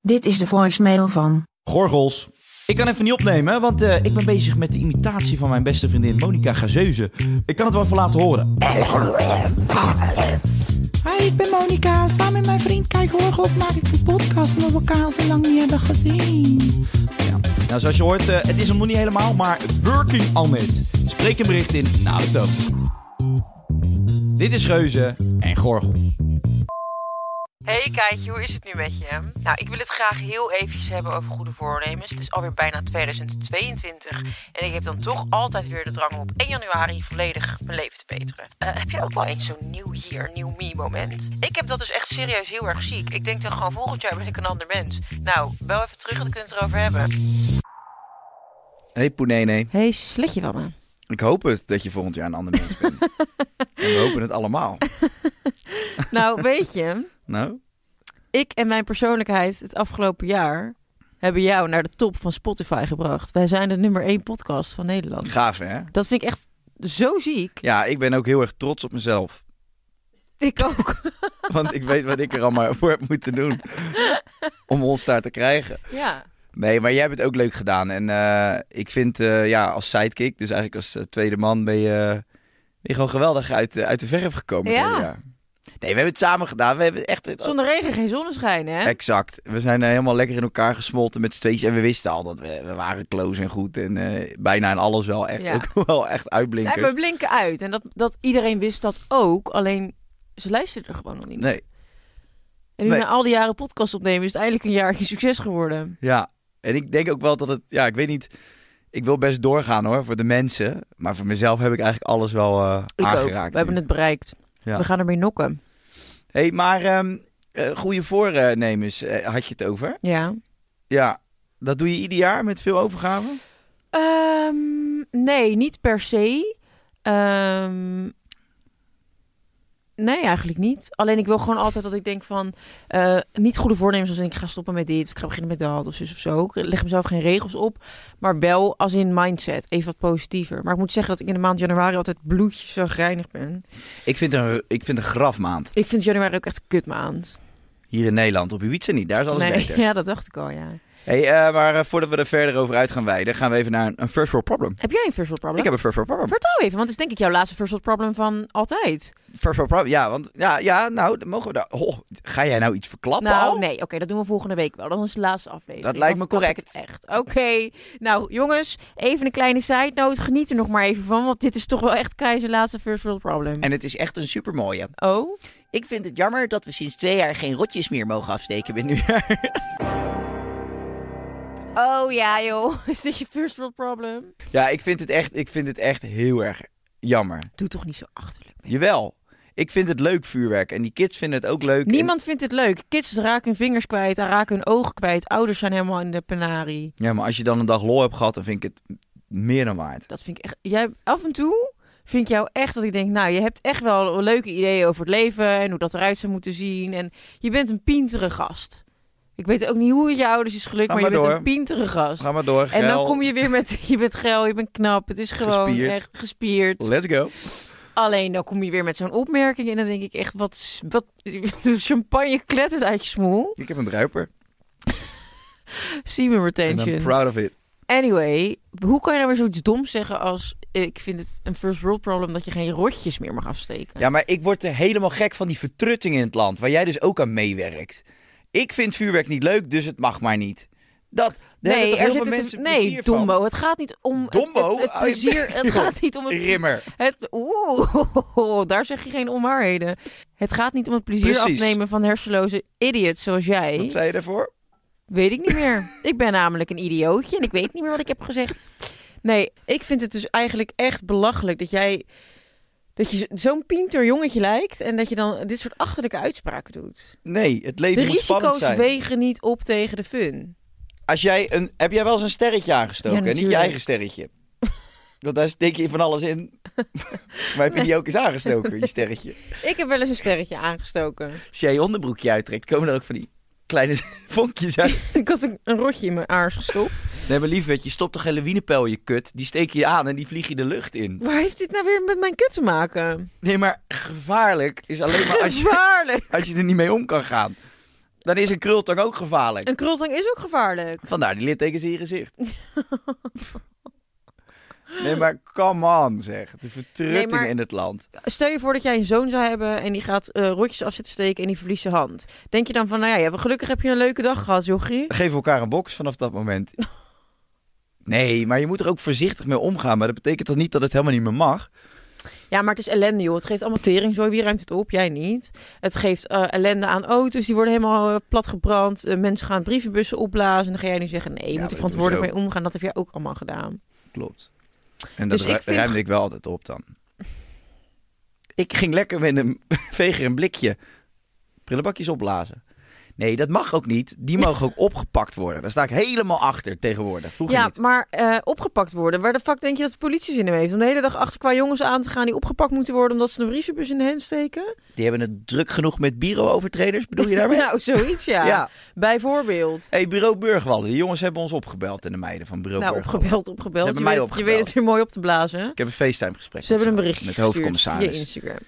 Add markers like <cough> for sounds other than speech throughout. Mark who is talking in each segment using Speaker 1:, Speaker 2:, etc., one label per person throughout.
Speaker 1: Dit is de voicemail van.
Speaker 2: Gorgels. Ik kan even niet opnemen, hè, want eh, ik ben bezig met de imitatie van mijn beste vriendin Monica Gazeuze. Ik kan het wel even laten horen.
Speaker 3: Hi, ik ben Monika. Samen met mijn vriend Kijk Horgels maak ik een podcast omdat we elkaar al zo lang niet hebben gezien.
Speaker 2: Nou, zoals je hoort, eh, het is hem nog niet helemaal, maar working on it. Spreek een bericht in na de toon. Dit is Geuze en Gorgels.
Speaker 4: Hey Kaatje, hoe is het nu met je? Nou, ik wil het graag heel eventjes hebben over goede voornemens. Het is alweer bijna 2022 en ik heb dan toch altijd weer de drang om op 1 januari volledig mijn leven te beteren. Eh, heb jij ook wel eens zo'n nieuw year, nieuw me moment? Ik heb dat dus echt serieus heel erg ziek. Ik denk dan gewoon volgend jaar ben ik een ander mens. Nou, wel even terug, want ik kunt het erover hebben.
Speaker 5: Hey Poenene,
Speaker 6: Hé, hey, sletje van me.
Speaker 5: ik hoop het dat je volgend jaar een ander mens
Speaker 2: <laughs>
Speaker 5: bent. en we hopen het allemaal.
Speaker 6: Nou, weet je,
Speaker 5: Nou,
Speaker 6: ik en mijn persoonlijkheid het afgelopen jaar hebben jou naar de top van Spotify gebracht. Wij zijn de nummer één podcast van Nederland.
Speaker 5: gaaf hè?
Speaker 6: Dat vind ik echt zo ziek.
Speaker 5: Ja, ik ben ook heel erg trots op mezelf. <laughs>
Speaker 6: Ik ook.
Speaker 5: Want ik weet wat ik er allemaal voor heb moeten doen om ons daar te krijgen.
Speaker 6: <laughs> ja.
Speaker 5: Nee, maar jij hebt het ook leuk gedaan. En eh, ik vind, eh, ja, als sidekick, dus eigenlijk als eh, tweede man, ben je, ben je gewoon geweldig uit, de- uit de verf gekomen. het
Speaker 6: Ja.
Speaker 5: hele jaar. Nee, we hebben het samen gedaan. We hebben echt...
Speaker 6: Zonder regen geen zonneschijn, hè?
Speaker 5: Exact. We zijn eh, helemaal lekker in elkaar gesmolten met z'n tweetjes. En we wisten al dat we, we waren close en goed. En eh, bijna in alles wel echt,
Speaker 6: Ja.
Speaker 5: <laughs> ook wel echt
Speaker 6: Nee,
Speaker 5: uitblinkers.
Speaker 6: we blinken uit. En dat, dat iedereen wist dat ook, alleen ze luisterden er gewoon nog niet.
Speaker 5: Nee,
Speaker 6: en nu
Speaker 5: nee.
Speaker 6: na al die jaren podcast opnemen is het eindelijk een jaartje succes geworden.
Speaker 5: ja. En ik denk ook wel dat het... Ja, ik weet niet... Ik wil best doorgaan hoor, voor de mensen. Maar voor mezelf heb ik eigenlijk alles wel eh,
Speaker 6: Ik ook.
Speaker 5: aangeraakt.
Speaker 6: We hebben het bereikt.
Speaker 5: Ja.
Speaker 6: We gaan ermee nokken.
Speaker 5: hey, maar ehm, eh, goede voornemens eh, had je het over.
Speaker 6: Ja.
Speaker 5: Ja, dat doe je ieder jaar met veel overgaven.
Speaker 6: Ehm, nee, niet per se. Ehm, nee, eigenlijk niet. Alleen ik wil gewoon altijd dat ik denk van... eh, niet goede voornemens als in ik ga stoppen met dit... of ik ga beginnen met dat of zus of zo. Ik leg mezelf geen regels op. Maar wel als in mindset. Even wat positiever. Maar ik moet zeggen dat ik in de maand januari altijd bloedjes zo reinig ben.
Speaker 5: Ik vind een, ik vind een grafmaand.
Speaker 6: Ik vind januari ook echt een kutmaand.
Speaker 5: Hier in Nederland, op Ibiza niet. Daar is alles
Speaker 6: nee,
Speaker 5: beter.
Speaker 6: <laughs> ja, dat dacht ik al, ja.
Speaker 5: Hey, eh, maar eh, voordat we er verder over uit gaan wijden, gaan we even naar een, een first world problem.
Speaker 6: Heb jij een first world problem?
Speaker 5: Ik heb een first world problem.
Speaker 6: Vertel even, want het is denk ik jouw laatste first world problem van altijd.
Speaker 5: First world problem, ja, want ja, ja, nou, dan mogen we daar. Oh, ga jij nou iets verklappen? al?
Speaker 6: Nou, nee, oké, dat doen we volgende week wel. Dat is de laatste aflevering.
Speaker 5: Dat lijkt
Speaker 6: Dan
Speaker 5: me
Speaker 6: verklap ik
Speaker 5: correct.
Speaker 6: het echt. Oké, nou jongens, even een kleine side note. Geniet er nog maar even van, want dit is toch wel echt Keizer laatste first world problem.
Speaker 5: En het is echt een supermooie.
Speaker 6: Oh,
Speaker 5: Ik vind het jammer dat we sinds twee jaar geen rotjes meer mogen afsteken binnen nu. <laughs>
Speaker 6: oh ja joh, <laughs> is dit je first world problem?
Speaker 5: ja, ik vind het echt, ik vind het echt heel erg jammer.
Speaker 6: Doe toch niet zo achterlijk. Ben.
Speaker 5: Jawel. Ik vind het leuk vuurwerk en die kids vinden het ook leuk.
Speaker 6: Niemand vindt het leuk. Kids raken hun vingers kwijt, raken hun ogen kwijt. Ouders zijn helemaal in de penarie.
Speaker 5: En- ja, maar als je dan een dag lol hebt gehad, dan vind ik het meer dan waard.
Speaker 6: Dat vind ik echt. Jij af en toe vind ik jou echt dat ik denk, nou, je hebt echt wel leuke ideeën over het leven en hoe dat eruit zou moeten zien. En je bent een pintere gast. Ik weet ook niet hoe het je ouders is
Speaker 5: Ga
Speaker 6: gelukt, maar, je
Speaker 5: maar
Speaker 6: bent
Speaker 5: door.
Speaker 6: een pintere gast.
Speaker 5: Ga maar door.
Speaker 6: en dan
Speaker 5: geil.
Speaker 6: kom je weer met, <laughs> je bent geil, je bent knap, het is gewoon
Speaker 5: Gespierd.
Speaker 6: echt gespierd.
Speaker 5: Let's go.
Speaker 6: Alleen dan kom je weer met zo'n opmerking en dan denk ik echt, wat, s- wat, <laughs> de champagne klettert uit je smoel.
Speaker 5: Ik heb een druiper.
Speaker 6: Semen
Speaker 5: En I'm
Speaker 6: retention.
Speaker 5: proud of it.
Speaker 6: Anyway, hoe kan je nou weer zoiets doms zeggen als... eh, Ik vind het een first world problem dat je geen rotjes meer mag afsteken.
Speaker 5: Ja, maar ik word er helemaal gek van die vertrutting in het land, waar jij dus ook aan meewerkt. Ik vind vuurwerk niet leuk, dus het mag maar niet. Dat, daar hebben toch
Speaker 6: er
Speaker 5: heel
Speaker 6: zitten
Speaker 5: veel
Speaker 6: te-
Speaker 5: mensen
Speaker 6: nee
Speaker 5: plezier van?
Speaker 6: Dombo, het gaat niet om het-
Speaker 5: Dombo?
Speaker 6: het, het,
Speaker 5: Ah, je
Speaker 6: plezier.
Speaker 5: <laughs> bent-
Speaker 6: Het gaat niet om het
Speaker 5: Rimmer.
Speaker 6: Het, oeh, <laughs> daar zeg je geen onwaarheden. Het gaat niet om het plezier
Speaker 5: Precies.
Speaker 6: afnemen van hersenloze idiots zoals jij.
Speaker 5: Wat zei je daarvoor?
Speaker 6: Weet ik niet meer. ik ben namelijk een idiootje en ik weet niet meer wat ik heb gezegd. Nee, ik vind het dus eigenlijk echt belachelijk dat jij... Dat je zo'n pinter jongetje lijkt en dat je dan dit soort achterlijke uitspraken doet.
Speaker 5: Nee, het leven
Speaker 6: De
Speaker 5: moet spannend
Speaker 6: risico's
Speaker 5: zijn.
Speaker 6: wegen niet op tegen de fun.
Speaker 5: Als jij een, heb jij wel eens een sterretje aangestoken?
Speaker 6: Ja,
Speaker 5: hè? niet je
Speaker 6: natuurlijk.
Speaker 5: eigen sterretje. <laughs> Want daar steek je van alles in. <laughs> maar heb je die ook eens aangestoken, je sterretje?
Speaker 6: Ik heb wel eens een sterretje aangestoken. <laughs>
Speaker 5: Als jij je onderbroekje uittrekt, komen er ook van die kleine <laughs> vonkjes uit.
Speaker 6: Ik had een, een rotje in mijn aars gestopt.
Speaker 5: Nee, maar lieverd, je stopt toch geen lawinepijl in je kut? Die steek je aan en die vlieg je de lucht in.
Speaker 6: Waar heeft dit nou weer met mijn kut te
Speaker 5: <laughs>
Speaker 6: maken?
Speaker 5: Nee, maar gevaarlijk is alleen maar
Speaker 6: <laughs>
Speaker 5: als je,
Speaker 6: Gevaarlijk!
Speaker 5: als je er niet mee om kan gaan. Dan is een krultang ook gevaarlijk.
Speaker 6: Een krultang is ook gevaarlijk.
Speaker 5: Vandaar die littekens in je gezicht. Nee, maar come on zeg. De vertrutting
Speaker 6: Nee, maar-
Speaker 5: in het land.
Speaker 6: Stel je voor dat jij een zoon zou hebben en die gaat eh, rotjes af zitten steken en die verliest zijn hand. Denk je dan van, nou ja, ja, maar gelukkig heb je een leuke dag gehad, jochie.
Speaker 5: Geef elkaar een box vanaf dat moment. Nee, maar je moet er ook voorzichtig mee omgaan. Maar dat betekent toch niet dat het helemaal niet meer mag?
Speaker 6: Ja, maar het is ellende, joh. Het geeft allemaal tering. Zo, wie ruimt het op? Jij niet. Het geeft eh, ellende aan auto's. Die worden helemaal eh, platgebrand. Eh, mensen gaan brievenbussen opblazen. En dan ga jij nu zeggen, nee, je moet
Speaker 5: dat
Speaker 6: er
Speaker 5: doen
Speaker 6: verantwoordelijk
Speaker 5: ze
Speaker 6: mee omgaan. Dat heb jij ook allemaal gedaan.
Speaker 5: Klopt. En dat
Speaker 6: Dus
Speaker 5: dus
Speaker 6: ik vind-
Speaker 5: ruimde ik wel altijd op dan. Ik ging lekker met een <laughs> veger een blikje prullenbakjes opblazen. Nee, dat mag ook niet. Die mogen ook opgepakt worden. Daar sta ik helemaal achter tegenwoordig. Vroeger
Speaker 6: ja,
Speaker 5: niet.
Speaker 6: maar eh, opgepakt worden. Waar de fuck denk je dat de politie zin in heeft? Om de hele dag achter qua jongens aan te gaan die opgepakt moeten worden omdat ze een brievenbus in de hand steken?
Speaker 5: Die hebben het druk genoeg met bureau-overtreders, bedoel je daarmee?
Speaker 6: <laughs> Nou, zoiets ja.
Speaker 5: Ja.
Speaker 6: Bijvoorbeeld.
Speaker 5: hey, bureau Burgwallen. Die jongens hebben ons opgebeld en de meiden van bureau
Speaker 6: Nou,
Speaker 5: Burgwallen.
Speaker 6: opgebeld,
Speaker 5: Ze
Speaker 6: opgebeld.
Speaker 5: hebben
Speaker 6: je,
Speaker 5: mij
Speaker 6: weet,
Speaker 5: opgebeld.
Speaker 6: je weet het weer mooi op te blazen.
Speaker 5: Ik heb een FaceTime-gesprek
Speaker 6: Ze hebben een
Speaker 5: met
Speaker 6: berichtje
Speaker 5: Met de
Speaker 6: gestuurd
Speaker 5: hoofdcommissaris.
Speaker 6: via Instagram.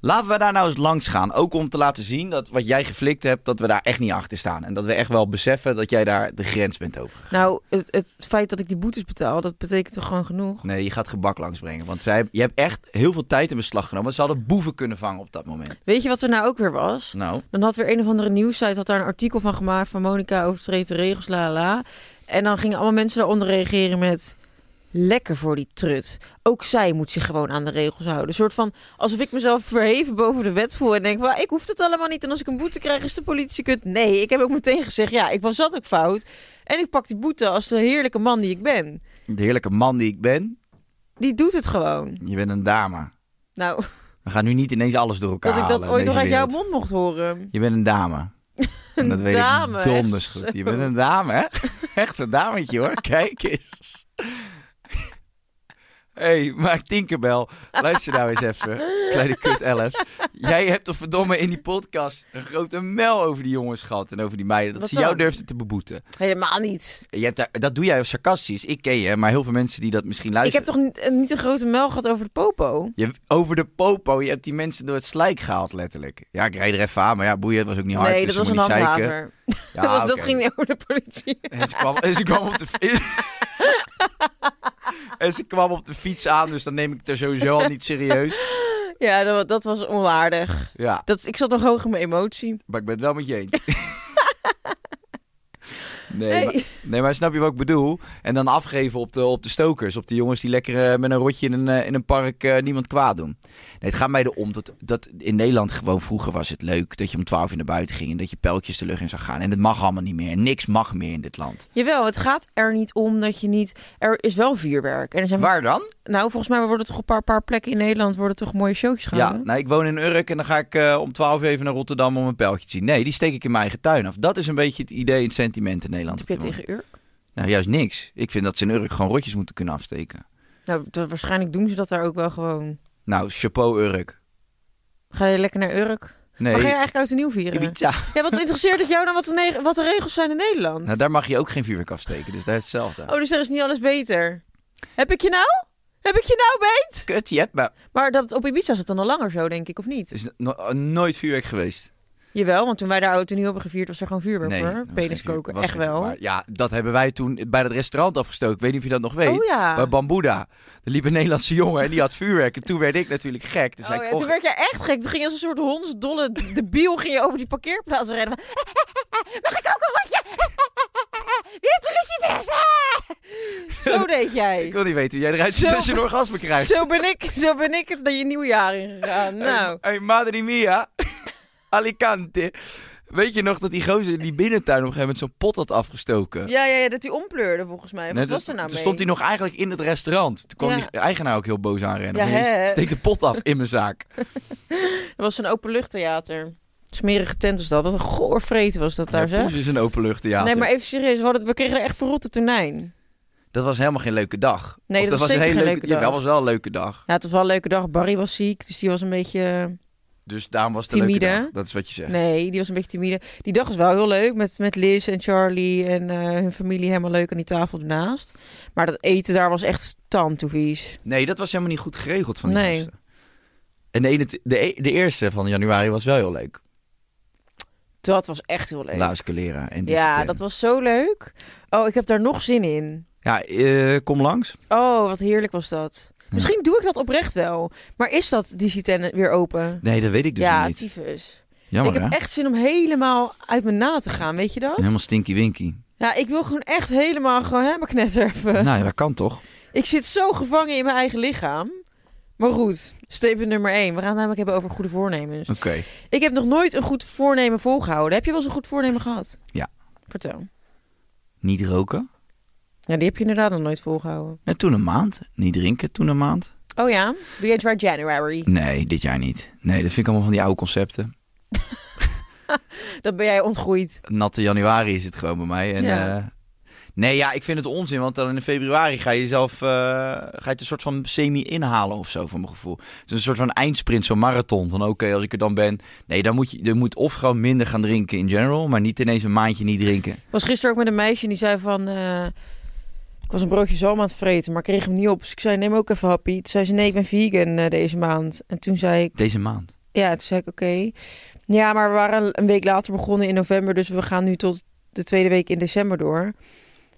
Speaker 5: Laten we daar nou eens langs gaan. Ook om te laten zien dat wat jij geflikt hebt, dat we daar echt niet achter staan. En dat we echt wel beseffen dat jij daar de grens bent over.
Speaker 6: Nou, het, het feit dat ik die boetes betaal, dat betekent toch gewoon genoeg?
Speaker 5: Nee, je gaat gebak langsbrengen. Want zij, je hebt echt heel veel tijd in beslag genomen. Ze hadden boeven kunnen vangen op dat moment.
Speaker 6: Weet je wat er nou ook weer was?
Speaker 5: Nou,
Speaker 6: Dan had weer een of andere nieuwssite had daar een artikel van gemaakt van Monica overtreedt de regels, la la, la. En dan gingen allemaal mensen daaronder reageren met lekker voor die trut. Ook zij moet zich gewoon aan de regels houden. Een soort van alsof ik mezelf verheven boven de wet voel en denk, "Wel, ik hoef het allemaal niet. En als ik een boete krijg, is de politie kut. Nee, ik heb ook meteen gezegd, ja, ik was dat ook fout. En ik pak die boete als de heerlijke man die ik ben.
Speaker 5: de heerlijke man die ik ben,
Speaker 6: Die doet het gewoon.
Speaker 5: je bent een dame.
Speaker 6: Nou, <laughs>
Speaker 5: We gaan nu niet ineens alles door elkaar
Speaker 6: dat ik
Speaker 5: halen
Speaker 6: dat
Speaker 5: in
Speaker 6: ooit nog
Speaker 5: deze
Speaker 6: uit jouw
Speaker 5: wereld.
Speaker 6: mond mocht horen.
Speaker 5: Je bent een
Speaker 6: <laughs>
Speaker 5: dame. En dat weet
Speaker 6: dame,
Speaker 5: ik
Speaker 6: echt
Speaker 5: donders goed. Je bent een dame, hè?
Speaker 6: <laughs>
Speaker 5: Echt een dametje, hoor. Kijk eens. hey, maar Tinkerbell, luister nou eens even. Kleine kut 11. Jij hebt toch verdomme in die podcast een grote mel over die jongens gehad en over die meiden. Dat
Speaker 6: Wat
Speaker 5: ze jou
Speaker 6: dan?
Speaker 5: durfden te beboeten.
Speaker 6: Helemaal niet.
Speaker 5: Je hebt daar, dat doe jij sarcastisch. Ik ken je, maar heel veel mensen die dat misschien
Speaker 6: Ik heb
Speaker 5: luisteren.
Speaker 6: toch niet, eh, niet een grote mel gehad over de popo?
Speaker 5: Je, over de popo, je hebt die mensen door het slijk gehaald, letterlijk. Ja, ik rijd er even aan, maar ja, boeien, het was ook niet hard.
Speaker 6: nee,
Speaker 5: dus
Speaker 6: dat was
Speaker 5: ze
Speaker 6: een
Speaker 5: moet niet zeiken.
Speaker 6: handhaver.
Speaker 5: Ja,
Speaker 6: <laughs> dat, was, dat
Speaker 5: oké.
Speaker 6: ging niet over de politie. <laughs>
Speaker 5: En ze kwam, en ze kwam op de fiets. en ze kwam op de fiets aan, dus dan neem ik het er sowieso al niet serieus.
Speaker 6: Ja, dat, wa- dat was onaardig.
Speaker 5: Ja,
Speaker 6: Dat, ik zat nog hoog in mijn emotie.
Speaker 5: maar ik ben het wel met je eens.
Speaker 6: <laughs>
Speaker 5: Nee,
Speaker 6: Hey.
Speaker 5: maar, nee, maar snap je wat ik bedoel? En dan afgeven op de, op de stokers. Op de jongens die lekker eh, met een rotje in een, eh, in een park eh, niemand kwaad doen. Nee, het gaat mij erom dat, dat in Nederland gewoon vroeger was het leuk... dat je om 12 uur naar buiten ging en dat je pijltjes de lucht in zou gaan. En dat mag allemaal niet meer. Niks mag meer in dit land.
Speaker 6: Jawel, het gaat er niet om dat je niet... Er is wel vuurwerk. En er zijn,
Speaker 5: Waar dan?
Speaker 6: Nou, volgens mij worden toch op een paar, paar plekken in Nederland worden toch mooie showtjes
Speaker 5: Ja,
Speaker 6: gehouden.
Speaker 5: nou, ik woon in Urk en dan ga ik eh, om 12 uur even naar Rotterdam om een pijltje te zien. Nee, die steek ik in mijn eigen tuin af. Dat is een beetje het idee en het sentiment in Nederland.
Speaker 6: Wat heb je
Speaker 5: op dit
Speaker 6: tegen Urk?
Speaker 5: moment. Nou, juist niks. Ik vind dat ze in Urk gewoon rotjes moeten kunnen afsteken.
Speaker 6: Nou, dat, waarschijnlijk doen ze dat daar ook wel gewoon.
Speaker 5: Nou, chapeau Urk.
Speaker 6: Ga je lekker naar Urk?
Speaker 5: Nee,
Speaker 6: Maar ga je eigenlijk oud en nieuw vieren?
Speaker 5: Ibiza.
Speaker 6: Ja, wat interesseert het jou dan wat de, neg- wat de regels zijn in Nederland?
Speaker 5: Nou, daar mag je ook geen vuurwerk afsteken, dus daar is hetzelfde.
Speaker 6: Oh, dus er is niet alles beter. Heb ik je nou? Heb ik je nou beet?
Speaker 5: Kut, je hebt me.
Speaker 6: Maar dat op Ibiza is het dan al langer zo, denk ik, of
Speaker 5: Het
Speaker 6: niet?
Speaker 5: is no- nooit eh, vuurwerk geweest.
Speaker 6: Jawel, want toen wij de auto nieuw hebben gevierd, was er gewoon vuurwerk
Speaker 5: Nee, dat
Speaker 6: hoor.
Speaker 5: was
Speaker 6: Penis
Speaker 5: geen vuur-
Speaker 6: koken,
Speaker 5: was
Speaker 6: echt
Speaker 5: geen vuur.
Speaker 6: wel.
Speaker 5: Maar ja, dat hebben wij toen bij dat restaurant afgestoken. Ik weet niet of je dat nog weet.
Speaker 6: Oh ja.
Speaker 5: Bij Bambuda. Er liep een Nederlandse jongen en die had vuurwerk. En toen werd ik natuurlijk gek. Dus
Speaker 6: Oh
Speaker 5: zei ik,
Speaker 6: ja,
Speaker 5: "Och,
Speaker 6: toen werd je echt gek. Toen ging je als een soort hondsdolle debiel ging je over die parkeerplaats rennen. <laughs> Mag ik ook een rondje? <laughs> Wie heeft de
Speaker 5: <laughs>
Speaker 6: lucifers? Zo deed
Speaker 5: ik
Speaker 6: jij.
Speaker 5: wil niet weten hoe jij eruit ziet
Speaker 6: Zo-
Speaker 5: als je een orgasme krijgt.
Speaker 6: Zo ben ik, zo ben ik het naar je nieuwe jaar ingegaan.
Speaker 5: Eh,
Speaker 6: Nou,
Speaker 5: Hey, hey, madre mia. <laughs> Alicante. Weet je nog dat die gozer in die binnentuin op een gegeven moment zo'n pot had afgestoken?
Speaker 6: ja, ja, ja dat hij ompleurde volgens mij. Wat
Speaker 5: eh. Nee, dat-
Speaker 6: was er nou
Speaker 5: toen
Speaker 6: mee?
Speaker 5: stond hij nog eigenlijk in het restaurant. Toen kwam
Speaker 6: Ja.
Speaker 5: die eigenaar ook heel boos aanrennen.
Speaker 6: Ja,
Speaker 5: Van,
Speaker 6: hè?
Speaker 5: "Je Steek de pot af in mijn zaak.
Speaker 6: Dat was een openluchttheater. Smerige tent was dat. Wat een goor vreten was dat daar,
Speaker 5: Ja,
Speaker 6: zeg.
Speaker 5: Poes is een openluchttheater.
Speaker 6: Nee, maar even serieus. We, hadden, we kregen er echt verrotte tonijn.
Speaker 5: Dat was helemaal geen leuke dag.
Speaker 6: Nee,
Speaker 5: Of
Speaker 6: dat was
Speaker 5: een
Speaker 6: zeker
Speaker 5: hele
Speaker 6: geen
Speaker 5: leuke,
Speaker 6: leuke dag.
Speaker 5: Jawel, was wel een leuke dag.
Speaker 6: Ja, het was wel een leuke dag. Barry was ziek, dus die was een beetje...
Speaker 5: Dus daarom was het een
Speaker 6: Timide.
Speaker 5: leuke dag. Dat is wat je zegt.
Speaker 6: Nee, die was een beetje timide. Die dag was wel heel leuk met, met Liz en Charlie en eh, hun familie helemaal leuk aan die tafel ernaast. Maar dat eten daar was echt tandtoevies.
Speaker 5: Nee, dat was helemaal niet goed geregeld van die
Speaker 6: Nee.
Speaker 5: gasten. En de, ene, de, e- de eerste van januari was wel heel leuk.
Speaker 6: Dat was echt heel leuk.
Speaker 5: Laus Calera en
Speaker 6: ja,
Speaker 5: Dissident.
Speaker 6: dat was zo leuk. Oh, ik heb daar nog zin in.
Speaker 5: Ja, eh, kom langs.
Speaker 6: Oh, wat heerlijk was dat. Misschien doe ik dat oprecht wel. Maar is dat Digiten weer open?
Speaker 5: Nee, dat weet ik dus nog
Speaker 6: ja,
Speaker 5: niet.
Speaker 6: tyfus.
Speaker 5: Jammer,
Speaker 6: ik heb
Speaker 5: hè?
Speaker 6: echt zin om helemaal uit mijn na te gaan, weet je dat?
Speaker 5: Helemaal stinky
Speaker 6: <laughs>
Speaker 5: winky.
Speaker 6: Ja, ik wil gewoon echt helemaal gewoon hè, mijn knetter even.
Speaker 5: Nou, ja, dat kan toch?
Speaker 6: Ik zit zo gevangen in mijn eigen lichaam. Maar goed, statement nummer 1. We gaan het namelijk hebben over goede voornemens.
Speaker 5: Oké.
Speaker 6: Ik heb nog nooit een goed voornemen volgehouden. Heb je wel eens een goed voornemen gehad?
Speaker 5: Ja.
Speaker 6: Vertel.
Speaker 5: Niet roken.
Speaker 6: Ja, die heb je inderdaad nog nooit volgehouden.
Speaker 5: En toen een maand. Niet drinken, toen een maand.
Speaker 6: Oh ja? Doe jij Dry January?
Speaker 5: Nee, dit jaar niet. Nee, dat vind ik allemaal van die oude concepten.
Speaker 6: Dat ben jij ontgroeid.
Speaker 5: natte januari is het gewoon bij mij. En,
Speaker 6: Ja.
Speaker 5: eh, nee, ja, ik vind het onzin, want dan in februari ga je jezelf eh, ga je het een soort van semi inhalen of zo, van mijn gevoel. Het is een soort van eindsprint, zo'n marathon. Van oké, als ik er dan ben. Nee, dan moet je, je moet of gewoon minder gaan drinken in general, maar niet ineens een maandje niet drinken.
Speaker 6: Ik was gisteren ook met een meisje en die zei van... eh, ik was een broodje zalm aan het vreten, maar ik kreeg hem niet op. Dus ik zei, neem ook even happy. Toen zei ze, nee, ik ben vegan eh, deze maand. En toen zei ik,
Speaker 5: Deze maand.
Speaker 6: Ja, toen zei ik oké. Ja, maar we waren een week later begonnen in november, dus we gaan nu tot de tweede week in december door.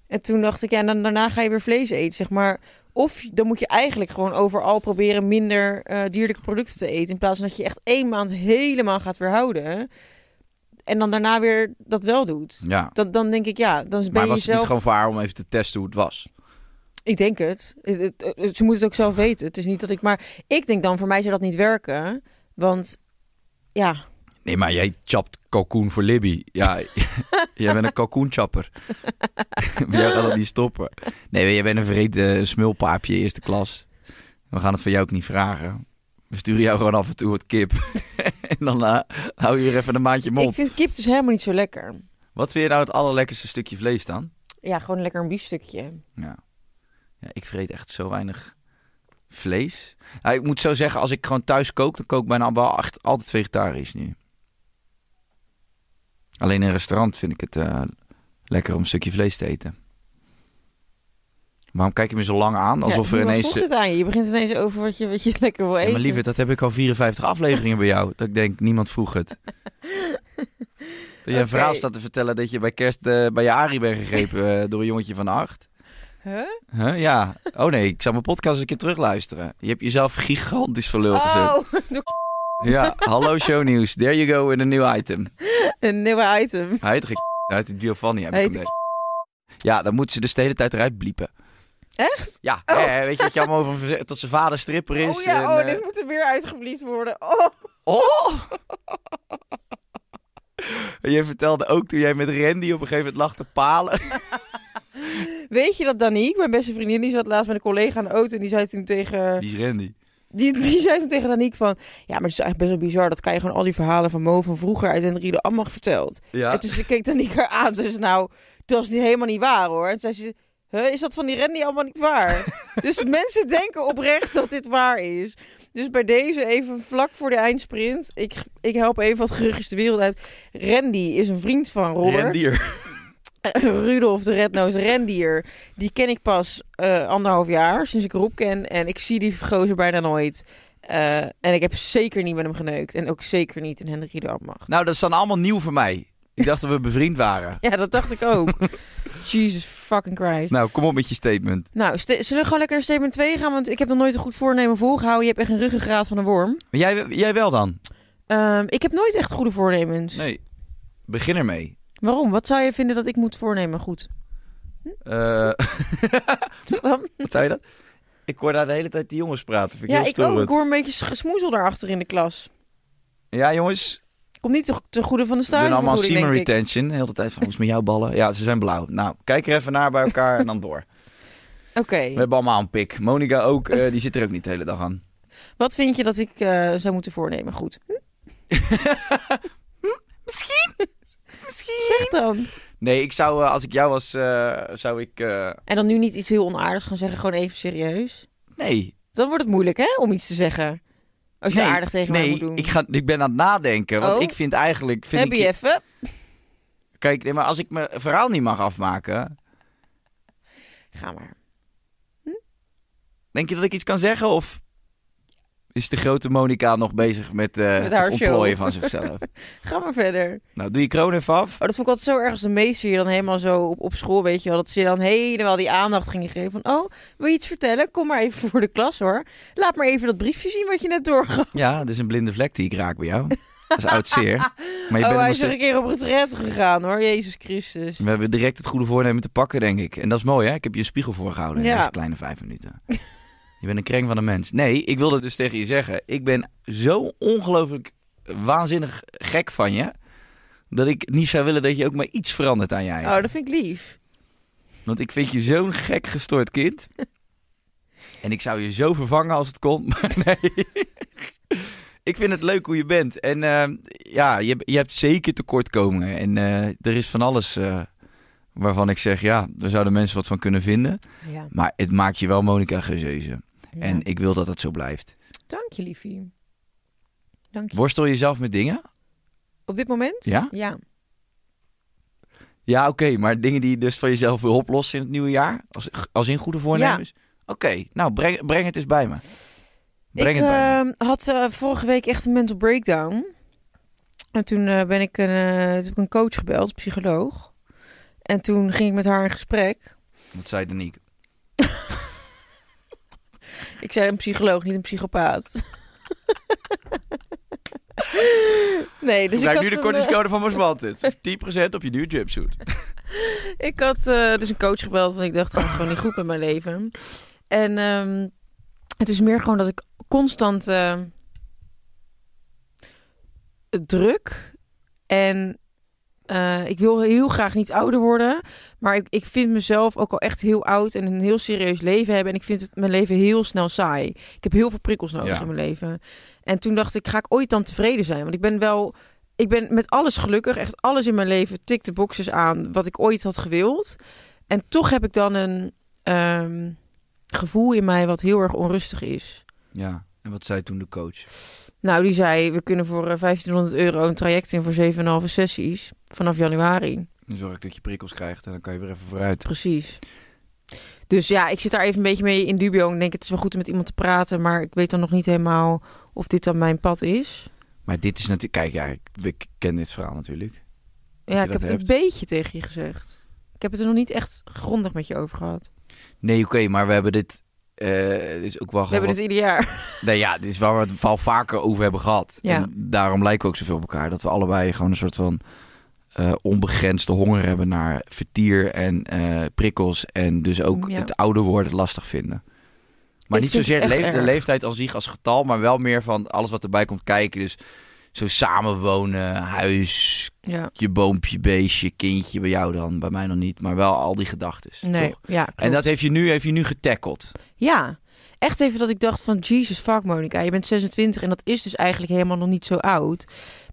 Speaker 6: En toen dacht ik, ja, dan, daarna ga je weer vlees eten, zeg maar. Of dan moet je eigenlijk gewoon overal proberen minder eh, dierlijke producten te eten. In plaats van dat je echt één maand helemaal gaat weerhouden. En dan daarna weer dat wel doet.
Speaker 5: Ja.
Speaker 6: Dan, dan denk ik, ja, dan ben
Speaker 5: Maar
Speaker 6: je
Speaker 5: was het
Speaker 6: jezelf...
Speaker 5: niet gewoon voor haar om even te testen hoe het was?
Speaker 6: Ik denk het. Het- het- het- Ze moet het ook zelf weten. Het is niet dat ik... Maar ik denk dan, voor mij zou dat niet werken. Want, ja,
Speaker 5: Nee, maar jij chapt kalkoen voor Libby. Ja, <laughs> jij bent een kalkoenchapper. <laughs> Maar jij gaat dat niet stoppen. Nee, maar jij bent een vergeten smulpaapje eerste klas. We gaan het van jou ook niet vragen. We sturen jou gewoon af en toe wat kip. <laughs> en dan eh, hou je hier even een maandje mond.
Speaker 6: Ik vind kip dus helemaal niet zo lekker.
Speaker 5: Wat vind je nou het allerlekkerste stukje vlees dan?
Speaker 6: Ja, gewoon lekker een biefstukje.
Speaker 5: Ja. ja ik vreet echt zo weinig vlees. Nou, ik moet zo zeggen, als ik gewoon thuis kook, dan kook ik bijna wel echt altijd vegetarisch nu. Alleen in een restaurant vind ik het eh, lekker om een stukje vlees te eten. Waarom kijk je me zo lang aan? Alsof
Speaker 6: ja,
Speaker 5: er
Speaker 6: niemand
Speaker 5: ineens...
Speaker 6: vroeg dit aan je. Je begint ineens over wat je, wat je <laughs> lekker wil
Speaker 5: Ja,
Speaker 6: eten.
Speaker 5: maar lieverd, dat heb ik al 54 afleveringen bij jou. Dat ik denk, niemand vroeg
Speaker 6: <laughs>
Speaker 5: het. Dat je een
Speaker 6: Oké.
Speaker 5: verhaal staat te vertellen dat je bij kerst eh, bij je Ari bent gegrepen eh, door een jongetje van acht.
Speaker 6: Huh?
Speaker 5: Huh? Ja. Oh nee, ik zou mijn podcast eens een keer terugluisteren. Je hebt jezelf gigantisch voor lul gezet.
Speaker 6: Oh, <laughs>
Speaker 5: Ja, hallo shownieuws. There you go in een nieuw item.
Speaker 6: een nieuwe item.
Speaker 5: Hij heet, ge- <laughs> hij heet Giovanni. Heb
Speaker 6: Hij
Speaker 5: ik
Speaker 6: heet
Speaker 5: ontdekt. ja, dan moeten ze dus de hele tijd eruit bliepen.
Speaker 6: Echt?
Speaker 5: Ja, hè, weet je wat je allemaal over verzet? Dat zijn vader stripper is.
Speaker 6: oh
Speaker 5: en,
Speaker 6: ja, oh,
Speaker 5: eh,
Speaker 6: dit moet er weer uitgeblieft worden. Oh,
Speaker 5: Oh! <laughs> Je vertelde ook toen jij met Randy op een gegeven moment lag te palen.
Speaker 6: weet je dat Danique, mijn beste vriendin, die zat laatst met een collega aan de auto en die zei toen tegen,
Speaker 5: Wie is Randy?
Speaker 6: die, die zei toen tegen Danique van, ja, maar het is eigenlijk best wel bizar, dat kan je gewoon al die verhalen van Mo van vroeger uit en Riede allemaal verteld.
Speaker 5: Ja.
Speaker 6: En toen keek Danique haar aan, zei ze nou, dat is niet, helemaal niet waar hoor. En toen zei ze, "Huh, is dat van die Randy allemaal niet waar? dus mensen denken oprecht dat dit waar is. Dus bij deze even vlak voor de eindsprint, ik, ik help even wat geruchtjes de wereld uit. Randy is een vriend van Robert.
Speaker 5: Rendier.
Speaker 6: <laughs> Rudolf de Rednoos Rendier. Die ken ik pas eh, anderhalf jaar sinds ik Roep ken. En ik zie die gozer bijna nooit. Eh, en ik heb zeker niet met hem geneukt. En ook zeker niet in Hendrik de Ambacht.
Speaker 5: Nou, dat is dan allemaal nieuw voor mij. Ik dacht dat we bevriend <laughs> waren.
Speaker 6: Ja, dat dacht ik ook. Jesus fucking Christ.
Speaker 5: Nou, kom op met je statement.
Speaker 6: Nou, ste- zullen we gewoon lekker naar statement 2 gaan? Want ik heb nog nooit een goed voornemen volgehouden. Je hebt echt een ruggengraat van een worm.
Speaker 5: Maar jij, jij wel dan?
Speaker 6: Ehm, ik heb nooit echt goede voornemens.
Speaker 5: Nee. Begin ermee.
Speaker 6: Waarom? Wat zou je vinden dat ik moet voornemen goed? <laughs>
Speaker 5: Eh <laughs>
Speaker 6: Zeg dan.
Speaker 5: wat zei je dat? Ik hoor daar de hele tijd die jongens praten. Vind ik
Speaker 6: Ja,
Speaker 5: heel
Speaker 6: ik ook. Ik
Speaker 5: storend.
Speaker 6: hoor een beetje gesmoezel daarachter in de klas.
Speaker 5: Ja, jongens.
Speaker 6: Komt niet te, te goede van de
Speaker 5: Ze doen allemaal
Speaker 6: stagevergoeding,
Speaker 5: semen
Speaker 6: denk ik.
Speaker 5: retention. Heel de tijd van, hoe is het met jouw ballen? Ja, ze zijn blauw. Nou, kijk er even naar bij elkaar en dan door.
Speaker 6: Oké.
Speaker 5: We hebben allemaal een pik. Monica ook, eh, die zit er ook niet de hele dag aan.
Speaker 6: Wat vind je dat ik eh, zou moeten voornemen? Goed. Hm?
Speaker 5: Hm?
Speaker 6: Misschien. Zeg dan.
Speaker 5: Nee, ik zou, eh, als ik jou was, eh, zou ik... eh,
Speaker 6: En dan nu niet iets heel onaardigs gaan zeggen, gewoon even serieus.
Speaker 5: nee.
Speaker 6: Dan wordt het moeilijk, hè, om iets te zeggen. Als je
Speaker 5: nee,
Speaker 6: aardig tegen
Speaker 5: nee,
Speaker 6: mij moet doen.
Speaker 5: Ik, ga, ik ben aan het nadenken, want
Speaker 6: Oh.
Speaker 5: ik vind eigenlijk... Vind
Speaker 6: Heb
Speaker 5: ik,
Speaker 6: je even?
Speaker 5: Kijk, nee, maar als ik mijn verhaal niet mag afmaken,
Speaker 6: Ga maar.
Speaker 5: denk je dat ik iets kan zeggen? Of is de grote Monica nog bezig met, eh,
Speaker 6: Met haar
Speaker 5: het ontplooien
Speaker 6: show.
Speaker 5: van
Speaker 6: <laughs>
Speaker 5: zichzelf?
Speaker 6: Ga maar verder.
Speaker 5: nou, doe je kroon even af.
Speaker 6: Oh, dat vond ik altijd zo erg als de meester je dan helemaal zo op, op school, weet je wel. Dat ze je dan helemaal die aandacht gingen geven van... Oh, wil je iets vertellen? Kom maar even voor de klas, hoor. Laat maar even dat briefje zien wat je net doorgaf.
Speaker 5: Ja, dat is een blinde vlek die ik raak bij jou. Dat is oud zeer. Maar je bent
Speaker 6: <laughs> oh,
Speaker 5: er
Speaker 6: hij
Speaker 5: nog
Speaker 6: is er
Speaker 5: steeds...
Speaker 6: een keer op retret gegaan, hoor. Jezus Christus.
Speaker 5: We hebben direct het goede voornemen te pakken, denk ik. En dat is mooi, hè? Ik heb je een spiegel voorgehouden in
Speaker 6: Ja.
Speaker 5: deze kleine vijf minuten. Je bent een kreng van een mens. Nee, ik wilde dus tegen je zeggen. Ik ben zo ongelooflijk waanzinnig gek van je... dat ik niet zou willen dat je ook maar iets verandert aan jij.
Speaker 6: Oh, dat vind ik lief.
Speaker 5: Want ik vind je zo'n gek gestoord kind. En ik zou je zo vervangen als het kon, <laughs> maar nee. Ik vind het leuk hoe je bent. En ehm, ja, je, je hebt zeker tekortkomingen. En eh, er is van alles eh, waarvan ik zeg, ja, daar zouden mensen wat van kunnen vinden.
Speaker 6: Ja.
Speaker 5: Maar het maakt je wel Monica Gezeuze. En
Speaker 6: En...
Speaker 5: ik wil dat dat zo blijft.
Speaker 6: Dank je, liefie. Dank je.
Speaker 5: Worstel je zelf met dingen?
Speaker 6: Op dit moment?
Speaker 5: Ja?
Speaker 6: Ja.
Speaker 5: Ja, oké, maar dingen die je dus van jezelf wil oplossen in het nieuwe jaar? Als, als in goede voornemens? Oké, nou breng, breng het eens bij me. Breng
Speaker 6: ik
Speaker 5: het bij me.
Speaker 6: eh, had eh, vorige week echt een mental breakdown. En toen eh, ben ik een, eh, toen heb ik een coach gebeld, een psycholoog. En toen ging ik met haar in gesprek.
Speaker 5: Wat zei Danique?
Speaker 6: Dus Ik zei een psycholoog, niet een psychopaat. <laughs> nee, dus
Speaker 5: Gebruik
Speaker 6: ik had
Speaker 5: nu de
Speaker 6: een,
Speaker 5: kortingscode van Mos
Speaker 6: <laughs>
Speaker 5: Wanted. 10% op je nieuwe jumpsuit.
Speaker 6: eh, <laughs> ik had eh, dus een coach gebeld, want ik dacht, het gaat gewoon niet goed met mijn leven. En ehm, het is meer gewoon dat ik constant eh, druk en eh, ik wil heel graag niet ouder worden, maar ik, ik vind mezelf ook al echt heel oud en een heel serieus leven hebben. En ik vind het, mijn leven heel snel saai. Ik heb heel veel prikkels nodig
Speaker 5: Ja.
Speaker 6: in mijn leven. En toen dacht ik, ga ik ooit dan tevreden zijn? Want ik ben wel, ik ben met alles gelukkig. Echt alles in mijn leven tikt de boxes aan wat ik ooit had gewild. En toch heb ik dan een ehm, gevoel in mij wat heel erg onrustig is.
Speaker 5: Ja, en wat zei toen de coach?
Speaker 6: Nou, die zei, we kunnen voor eh, 1500 euro een traject in voor 7,5 sessies vanaf januari.
Speaker 5: Dan zorg ik dat je prikkels krijgt en dan kan je weer even vooruit.
Speaker 6: Precies. Dus ja, ik zit daar even een beetje mee in dubio. Ik denk, het is wel goed om met iemand te praten, maar ik weet dan nog niet helemaal of dit dan mijn pad is.
Speaker 5: Maar dit is natuurlijk... Kijk, ja, ik, ik ken dit verhaal natuurlijk. je
Speaker 6: Ja,
Speaker 5: dat
Speaker 6: ik heb het een
Speaker 5: hebt.
Speaker 6: beetje tegen je gezegd. Ik heb het er nog niet echt grondig met je over gehad.
Speaker 5: Nee, oké, maar we hebben dit... eh, dit is ook wel
Speaker 6: We hebben
Speaker 5: wat-
Speaker 6: dit ieder jaar. <laughs>
Speaker 5: Nee, ja, dit is waar we het wel vaker over hebben gehad.
Speaker 6: Ja.
Speaker 5: En daarom lijken we ook zoveel op elkaar. Dat we allebei gewoon een soort van eh, onbegrensde honger hebben naar vertier en eh, prikkels. En dus ook
Speaker 6: Ja.
Speaker 5: het ouder worden lastig vinden. Maar
Speaker 6: Ik
Speaker 5: niet
Speaker 6: vind
Speaker 5: zozeer
Speaker 6: het echt
Speaker 5: leef- de
Speaker 6: erg.
Speaker 5: leeftijd als zich als getal, maar wel meer van alles wat erbij komt kijken. Dus zo samenwonen, huis,
Speaker 6: Ja,
Speaker 5: je boompje, beestje, kindje. Bij jou dan, bij mij nog niet. Maar wel al die gedachten.
Speaker 6: nee. Ja,
Speaker 5: En
Speaker 6: klopt.
Speaker 5: dat heeft je nu, heeft je nu getackeld.
Speaker 6: Ja, echt even dat ik dacht van, Jesus fuck Monica, je bent 26 en dat is dus eigenlijk helemaal nog niet zo oud.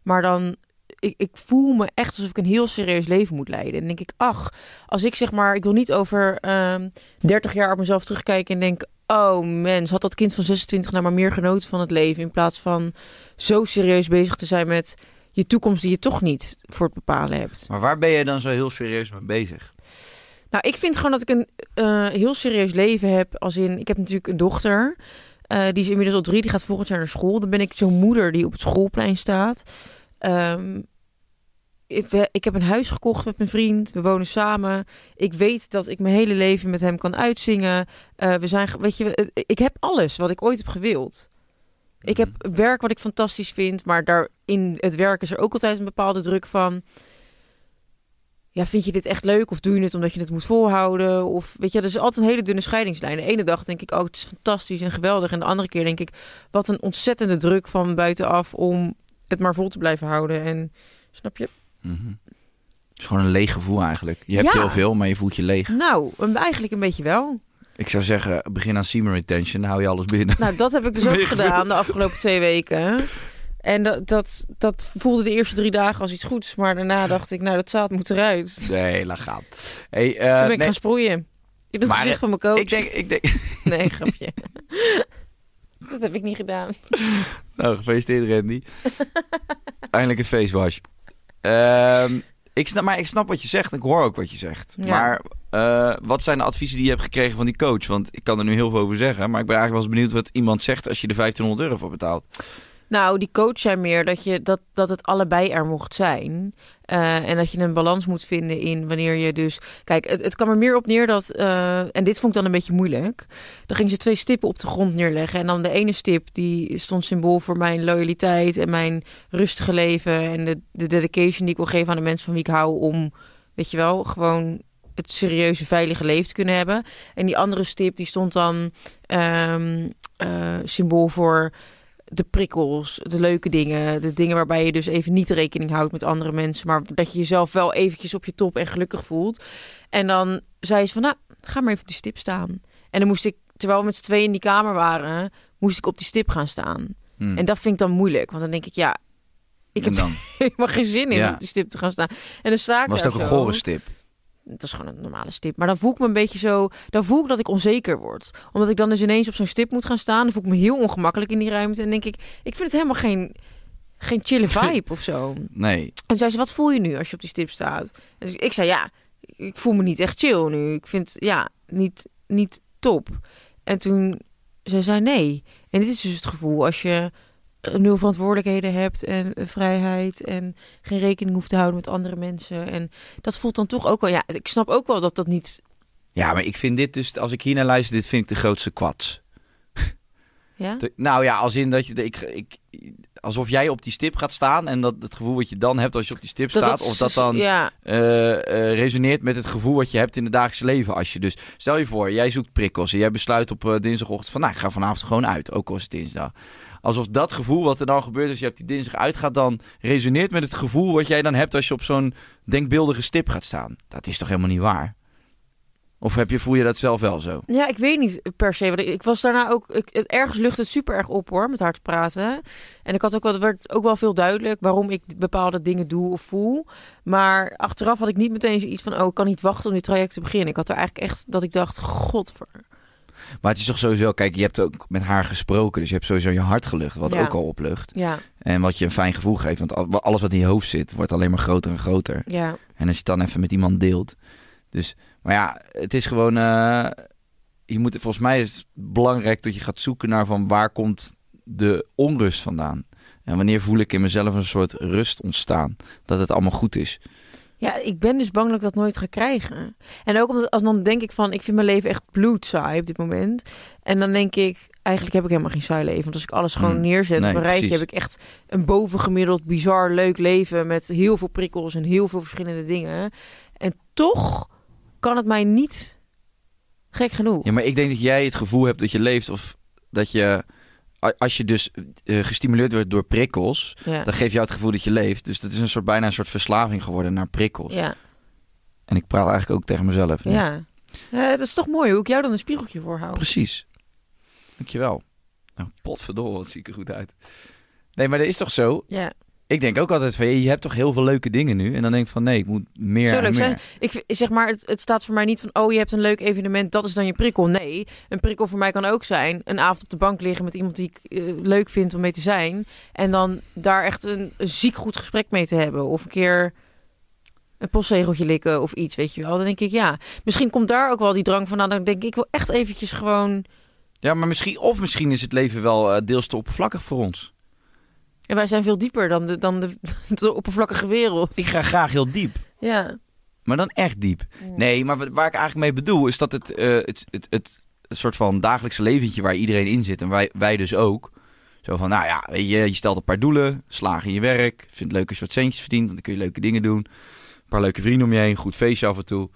Speaker 6: Maar dan, ik, ik voel me echt alsof ik een heel serieus leven moet leiden. En dan denk ik, ach, als ik zeg maar, ik wil niet over ehm 30 jaar op mezelf terugkijken en denk, oh mens, had dat kind van 26 nou maar meer genoten van het leven in plaats van zo serieus bezig te zijn met je toekomst die je toch niet voor het bepalen hebt.
Speaker 5: Maar waar ben je dan zo heel serieus mee bezig?
Speaker 6: Nou, ik vind gewoon dat ik een eh, heel serieus leven heb. Als in, ik heb natuurlijk een dochter. Eh, Eh, die is inmiddels al drie, die gaat volgend jaar naar school. Dan ben ik zo'n moeder die op het schoolplein staat. Ehm, ik, we- ik heb een huis gekocht met mijn vriend. We wonen samen. Ik weet dat ik mijn hele leven met hem kan uitzingen. Eh, we zijn, ge- weet je, eh, ik heb alles wat ik ooit heb gewild. Ik heb werk wat ik fantastisch vind, maar daar in het werk is er ook altijd een bepaalde druk van. Ja, vind je dit echt leuk of doe je het omdat je het moet volhouden? Of weet je, er is altijd een hele dunne scheidingslijn. De ene dag denk ik, oh, het is fantastisch en geweldig. En de andere keer denk ik, wat een ontzettende druk van buitenaf om het maar vol te blijven houden. En snap je?
Speaker 5: Mhm. Het is gewoon een leeg gevoel eigenlijk. Je hebt
Speaker 6: Ja.
Speaker 5: heel veel, maar je voelt je leeg.
Speaker 6: Nou, een- eigenlijk een beetje wel.
Speaker 5: Ik zou zeggen, begin aan semen retention, dan hou je alles binnen.
Speaker 6: <laughs> Nou, dat heb ik dus ook gedaan de afgelopen twee weken. En dat, dat, dat voelde de eerste drie dagen als iets goeds. Maar daarna dacht ik, nou, dat zaad moet eruit. Toen
Speaker 5: Nee, laat gaan. Hey, eh,
Speaker 6: ben ik
Speaker 5: nee,
Speaker 6: gaan sproeien. In het
Speaker 5: Maar,
Speaker 6: gezicht
Speaker 5: eh,
Speaker 6: van mijn coach.
Speaker 5: ik denk, ik denk, <laughs>
Speaker 6: Nee, grapje. <laughs> dat heb ik niet gedaan.
Speaker 5: Nou, gefeliciteerd
Speaker 6: <laughs>
Speaker 5: Randy. Eindelijk een facewash. Ehm, ik snap, maar ik snap wat je zegt. Ik hoor ook wat je zegt.
Speaker 6: Ja.
Speaker 5: Maar eh, wat zijn de adviezen die je hebt gekregen van die coach? Want ik kan er nu heel veel over zeggen. Maar ik ben eigenlijk wel eens benieuwd wat iemand zegt als je er 1500 euro voor betaalt.
Speaker 6: Nou, die coach zei meer dat, je, dat, dat het allebei er mocht zijn. Eh, en dat je een balans moet vinden in wanneer je dus... Kijk, het, het kwam er meer op neer dat... eh, en dit vond ik dan een beetje moeilijk. Dan gingen ze twee stippen op de grond neerleggen. En dan de ene stip, die stond symbool voor mijn loyaliteit... en mijn rustige leven en de, de dedication die ik wil geven aan de mensen van wie ik hou... om, weet je wel, gewoon het serieuze, veilige leven te kunnen hebben. En die andere stip, die stond dan ehm, eh, symbool voor de prikkels, de leuke dingen, de dingen waarbij je dus even niet rekening houdt met andere mensen, maar dat je jezelf wel eventjes op je top en gelukkig voelt. En dan zei ze van, nou, ga maar even op die stip staan. En dan moest ik, terwijl we met z'n tweeën in die kamer waren, moest ik op die stip gaan staan.
Speaker 5: Hmm.
Speaker 6: En dat vind ik dan moeilijk, want dan denk ik, ja, ik
Speaker 5: En
Speaker 6: heb
Speaker 5: dan
Speaker 6: <laughs> helemaal geen zin in
Speaker 5: Ja.
Speaker 6: om op die stip te gaan staan. En dan sta ik
Speaker 5: was het
Speaker 6: daar
Speaker 5: ook een
Speaker 6: zo.
Speaker 5: gore stip.
Speaker 6: Het is gewoon een normale stip. Maar dan voel ik me een beetje zo. Dan voel ik dat ik onzeker word. Omdat ik dan dus ineens op zo'n stip moet gaan staan. Dan voel ik me heel ongemakkelijk in die ruimte. En denk ik, ik vind het helemaal geen, geen chille vibe of zo.
Speaker 5: Nee.
Speaker 6: En zei ze, wat voel je nu als je op die stip staat? En dus ik zei, ja, ik voel me niet echt chill nu. Ik vind, ja, niet, niet top. En toen zij zei, nee. En dit is dus het gevoel als je eh, nul verantwoordelijkheden hebt en eh, vrijheid en geen rekening hoeft te houden met andere mensen. En dat voelt dan toch ook wel, ja, ik snap ook wel dat dat niet,
Speaker 5: Ja, maar ik vind dit dus, als ik hiernaar luister, dit vind ik de grootste kwats.
Speaker 6: ja?
Speaker 5: Te- Nou ja, als in dat je. Ik, ik, alsof jij op die stip gaat staan en dat het gevoel wat je dan hebt als je op die stip staat, of dat dan
Speaker 6: Ja,
Speaker 5: eh, eh, resoneert met het gevoel wat je hebt in het dagelijks leven. Als je dus, stel je voor, jij zoekt prikkels en jij besluit op eh, dinsdagochtend van, nou, ik ga vanavond gewoon uit, ook al is het dinsdag. Alsof dat gevoel wat er dan gebeurt als je op die dinsdag uitgaat, dan resoneert met het gevoel wat jij dan hebt als je op zo'n denkbeeldige stip gaat staan. Dat is toch helemaal niet waar? Of heb je, voel je dat zelf wel zo?
Speaker 6: Ja, ik weet niet per se. Want ik, ik was daarna ook. Ik, het- ergens lucht het super erg op hoor, met haar te praten. En ik had ook wel, werd ook wel veel duidelijk waarom ik bepaalde dingen doe of voel. Maar achteraf had ik niet meteen zoiets van: oh, ik kan niet wachten om dit traject te beginnen. Ik had er eigenlijk echt dat ik dacht: godver.
Speaker 5: Maar het is toch sowieso, kijk, je hebt ook met haar gesproken, dus je hebt sowieso je hart gelucht, wat
Speaker 6: Ja.
Speaker 5: ook al oplucht.
Speaker 6: Ja,
Speaker 5: En wat je een fijn gevoel geeft, want al- alles wat in je hoofd zit, wordt alleen maar groter en groter.
Speaker 6: ja.
Speaker 5: En als je het dan even met iemand deelt. Dus, maar ja, het is gewoon. eh, je moet, volgens mij is het belangrijk dat je gaat zoeken naar van waar komt de onrust vandaan. En wanneer voel ik in mezelf een soort rust ontstaan. Dat het allemaal goed is.
Speaker 6: Ja, ik ben dus bang dat ik dat nooit ga krijgen. En ook omdat als dan denk ik van, ik vind mijn leven echt bloedsaai op dit moment. En dan denk ik, eigenlijk heb ik helemaal geen saai leven. Want als ik alles gewoon
Speaker 5: Mm,
Speaker 6: neerzet
Speaker 5: nee,
Speaker 6: op een rijtje,
Speaker 5: precies.
Speaker 6: heb ik echt een bovengemiddeld bizar leuk leven met heel veel prikkels en heel veel verschillende dingen. En toch kan het mij niet gek genoeg.
Speaker 5: Ja, maar ik denk dat jij het gevoel hebt dat je leeft. Of dat je. a- Als je dus eh, gestimuleerd wordt door prikkels.
Speaker 6: Ja,
Speaker 5: Dan geeft jou het gevoel dat je leeft. Dus dat is een soort, bijna een soort verslaving geworden naar prikkels.
Speaker 6: ja,
Speaker 5: En ik praat eigenlijk ook tegen mezelf. nu.
Speaker 6: ja. Eh, dat is toch mooi hoe ik jou dan een spiegeltje voorhoud.
Speaker 5: Precies. Dankjewel. Nou, potverdorie, wat zie ik er goed uit. Nee, maar dat is toch zo?
Speaker 6: Ja,
Speaker 5: Ik denk ook altijd van, je hebt toch heel veel leuke dingen nu? En dan denk ik van, nee, ik moet meer
Speaker 6: Zo
Speaker 5: en
Speaker 6: leuk
Speaker 5: meer.
Speaker 6: zijn. Ik vind- zeg maar, het, het staat voor mij niet van, oh je hebt een leuk evenement, dat is dan je prikkel. Nee, een prikkel voor mij kan ook zijn een avond op de bank liggen met iemand die ik eh, leuk vind om mee te zijn. En dan daar echt een, een ziek goed gesprek mee te hebben. Of een keer een postzegeltje likken of iets, weet je wel. Dan denk ik, ja, misschien komt daar ook wel die drang van. Nou, dan denk ik, ik wil echt eventjes gewoon
Speaker 5: Ja, maar misschien, of misschien is het leven wel eh, deels te oppervlakkig voor ons.
Speaker 6: En wij zijn veel dieper dan de, dan de, <laughs> de oppervlakkige wereld.
Speaker 5: Ik ga graag heel diep.
Speaker 6: Ja.
Speaker 5: Maar dan echt diep. Nee, maar wat- waar ik eigenlijk mee bedoel is dat het, eh, het, het, het, het soort van dagelijkse leventje waar iedereen in zit en wij, wij dus ook. Zo van, nou ja, weet je, je stelt een paar doelen, slaag in je werk, vindt het leuk als je wat centjes verdient, want dan kun je leuke dingen doen. Een paar leuke vrienden om je heen, goed feestje af en toe.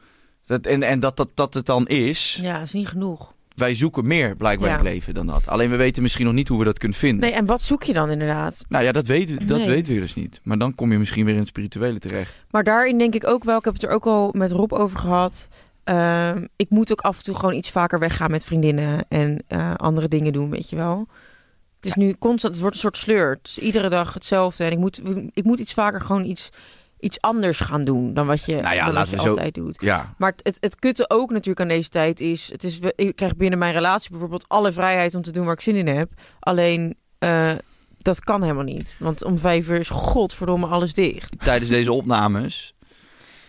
Speaker 5: Dat, en en dat, dat, dat het dan is,
Speaker 6: ja, is niet genoeg.
Speaker 5: wij zoeken meer blijkbaar
Speaker 6: Ja.
Speaker 5: in het leven dan dat. Alleen we weten misschien nog niet hoe we dat kunnen vinden.
Speaker 6: Nee, en wat zoek je dan inderdaad?
Speaker 5: Nou ja, dat, weten dat
Speaker 6: Nee.
Speaker 5: weten we dus niet. Maar dan kom je misschien weer in het spirituele terecht.
Speaker 6: Maar daarin denk ik ook wel, ik heb het er ook al met Rob over gehad. ehm, ik moet ook af en toe gewoon iets vaker weggaan met vriendinnen en eh, andere dingen doen, weet je wel. Het is nu constant, het wordt een soort sleur. Het is iedere dag hetzelfde. En ik moet, ik moet iets vaker gewoon iets, iets anders gaan doen dan wat je,
Speaker 5: Nou ja,
Speaker 6: dan wat
Speaker 5: laten
Speaker 6: je
Speaker 5: we zo-
Speaker 6: altijd doet.
Speaker 5: Ja,
Speaker 6: Maar het, het, het kutte ook natuurlijk aan deze tijd is... Het is we- ik krijg binnen mijn relatie bijvoorbeeld alle vrijheid om te doen waar ik zin in heb. Alleen, eh, dat kan helemaal niet. Want om vijf uur is godverdomme alles dicht.
Speaker 5: tijdens deze opnames.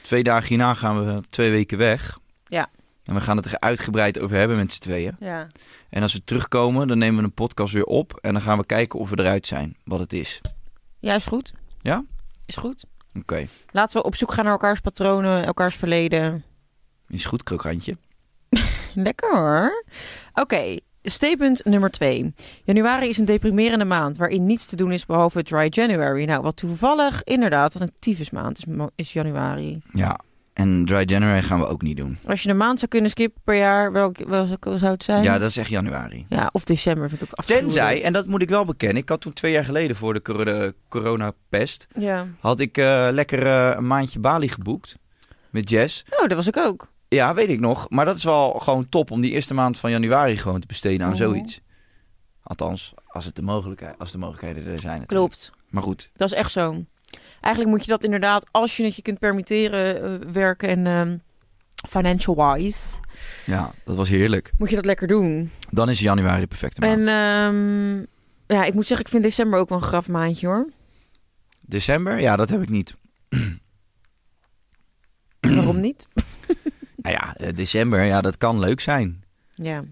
Speaker 5: Twee dagen hierna gaan we twee weken weg.
Speaker 6: Ja.
Speaker 5: En we gaan het er uitgebreid over hebben met z'n tweeën.
Speaker 6: Ja.
Speaker 5: En als we terugkomen, dan nemen we een podcast weer op. En dan gaan we kijken of we eruit zijn, wat het is.
Speaker 6: Ja, is goed.
Speaker 5: Ja?
Speaker 6: Is goed.
Speaker 5: Oké,
Speaker 6: Laten we op zoek gaan naar elkaars patronen, elkaars verleden.
Speaker 5: is goed, krokantje.
Speaker 6: Lekker hoor. Oké, statement nummer twee. Januari is een deprimerende maand waarin niets te doen is behalve dry January. Nou, wat toevallig inderdaad, wat een tyfusmaand is, ma- is januari.
Speaker 5: Ja, en Dry January gaan we ook niet doen.
Speaker 6: Als je een maand zou kunnen skippen per jaar, welk, welk zou het zijn?
Speaker 5: Ja, dat is echt januari.
Speaker 6: Ja, of december vind ik ook afschuwelijk.
Speaker 5: Tenzij, en dat moet ik wel bekennen, ik had toen twee jaar geleden voor de corona- coronapest...
Speaker 6: Ja.
Speaker 5: had ik eh, lekker eh, een maandje Bali geboekt met Jess.
Speaker 6: Oh, dat was ik ook.
Speaker 5: Ja, weet ik nog. Maar dat is wel gewoon top om die eerste maand van januari gewoon te besteden aan
Speaker 6: Mhm.
Speaker 5: zoiets. Althans, als, het de mogelijkheid, als de mogelijkheden er zijn. natuurlijk.
Speaker 6: Klopt.
Speaker 5: Maar goed,
Speaker 6: Dat is echt zo. Eigenlijk moet je dat inderdaad, als je het je kunt permitteren, eh, werken en ehm, financial wise,
Speaker 5: ja, dat was heerlijk.
Speaker 6: moet je dat lekker doen.
Speaker 5: Dan is januari de perfecte maand.
Speaker 6: En ehm, ja, ik moet zeggen, ik vind december ook wel een graf maandje hoor.
Speaker 5: <clears throat> December? Ja, dat heb ik niet.
Speaker 6: Waarom niet?
Speaker 5: Nou ja, eh, december, ja, dat kan leuk zijn.
Speaker 6: Ja.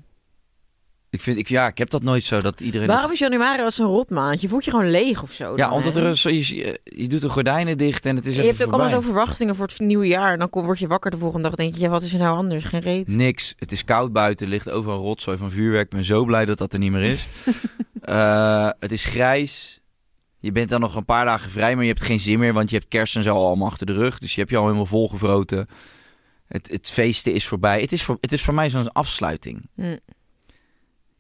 Speaker 5: Ik vind, ik, ja, ik heb dat nooit zo dat iedereen... dat-
Speaker 6: Waarom is januari als een rot maand? Je voelt je gewoon leeg of zo.
Speaker 5: Ja,
Speaker 6: dan,
Speaker 5: omdat
Speaker 6: hè?
Speaker 5: er een, zo- je, eh, je doet de gordijnen dicht en het is
Speaker 6: Je
Speaker 5: even
Speaker 6: hebt ook allemaal
Speaker 5: voorbij.
Speaker 6: zo verwachtingen voor het nieuwe jaar. En dan kom- word je wakker de volgende dag en denk je, ja, wat is er nou anders? Geen reet.
Speaker 5: Niks. Het is koud buiten. Er ligt overal rotzooi van vuurwerk. Ik ben zo blij dat dat er niet meer
Speaker 6: <laughs>
Speaker 5: is. Eh, het is grijs. Je bent dan nog een paar dagen vrij, maar je hebt geen zin meer. Want je hebt kerst en zo allemaal achter de rug. Dus je hebt je al helemaal volgevroten. Het, het feesten is voorbij. Het is voor, het is voor mij zo'n afsluiting.
Speaker 6: Mm.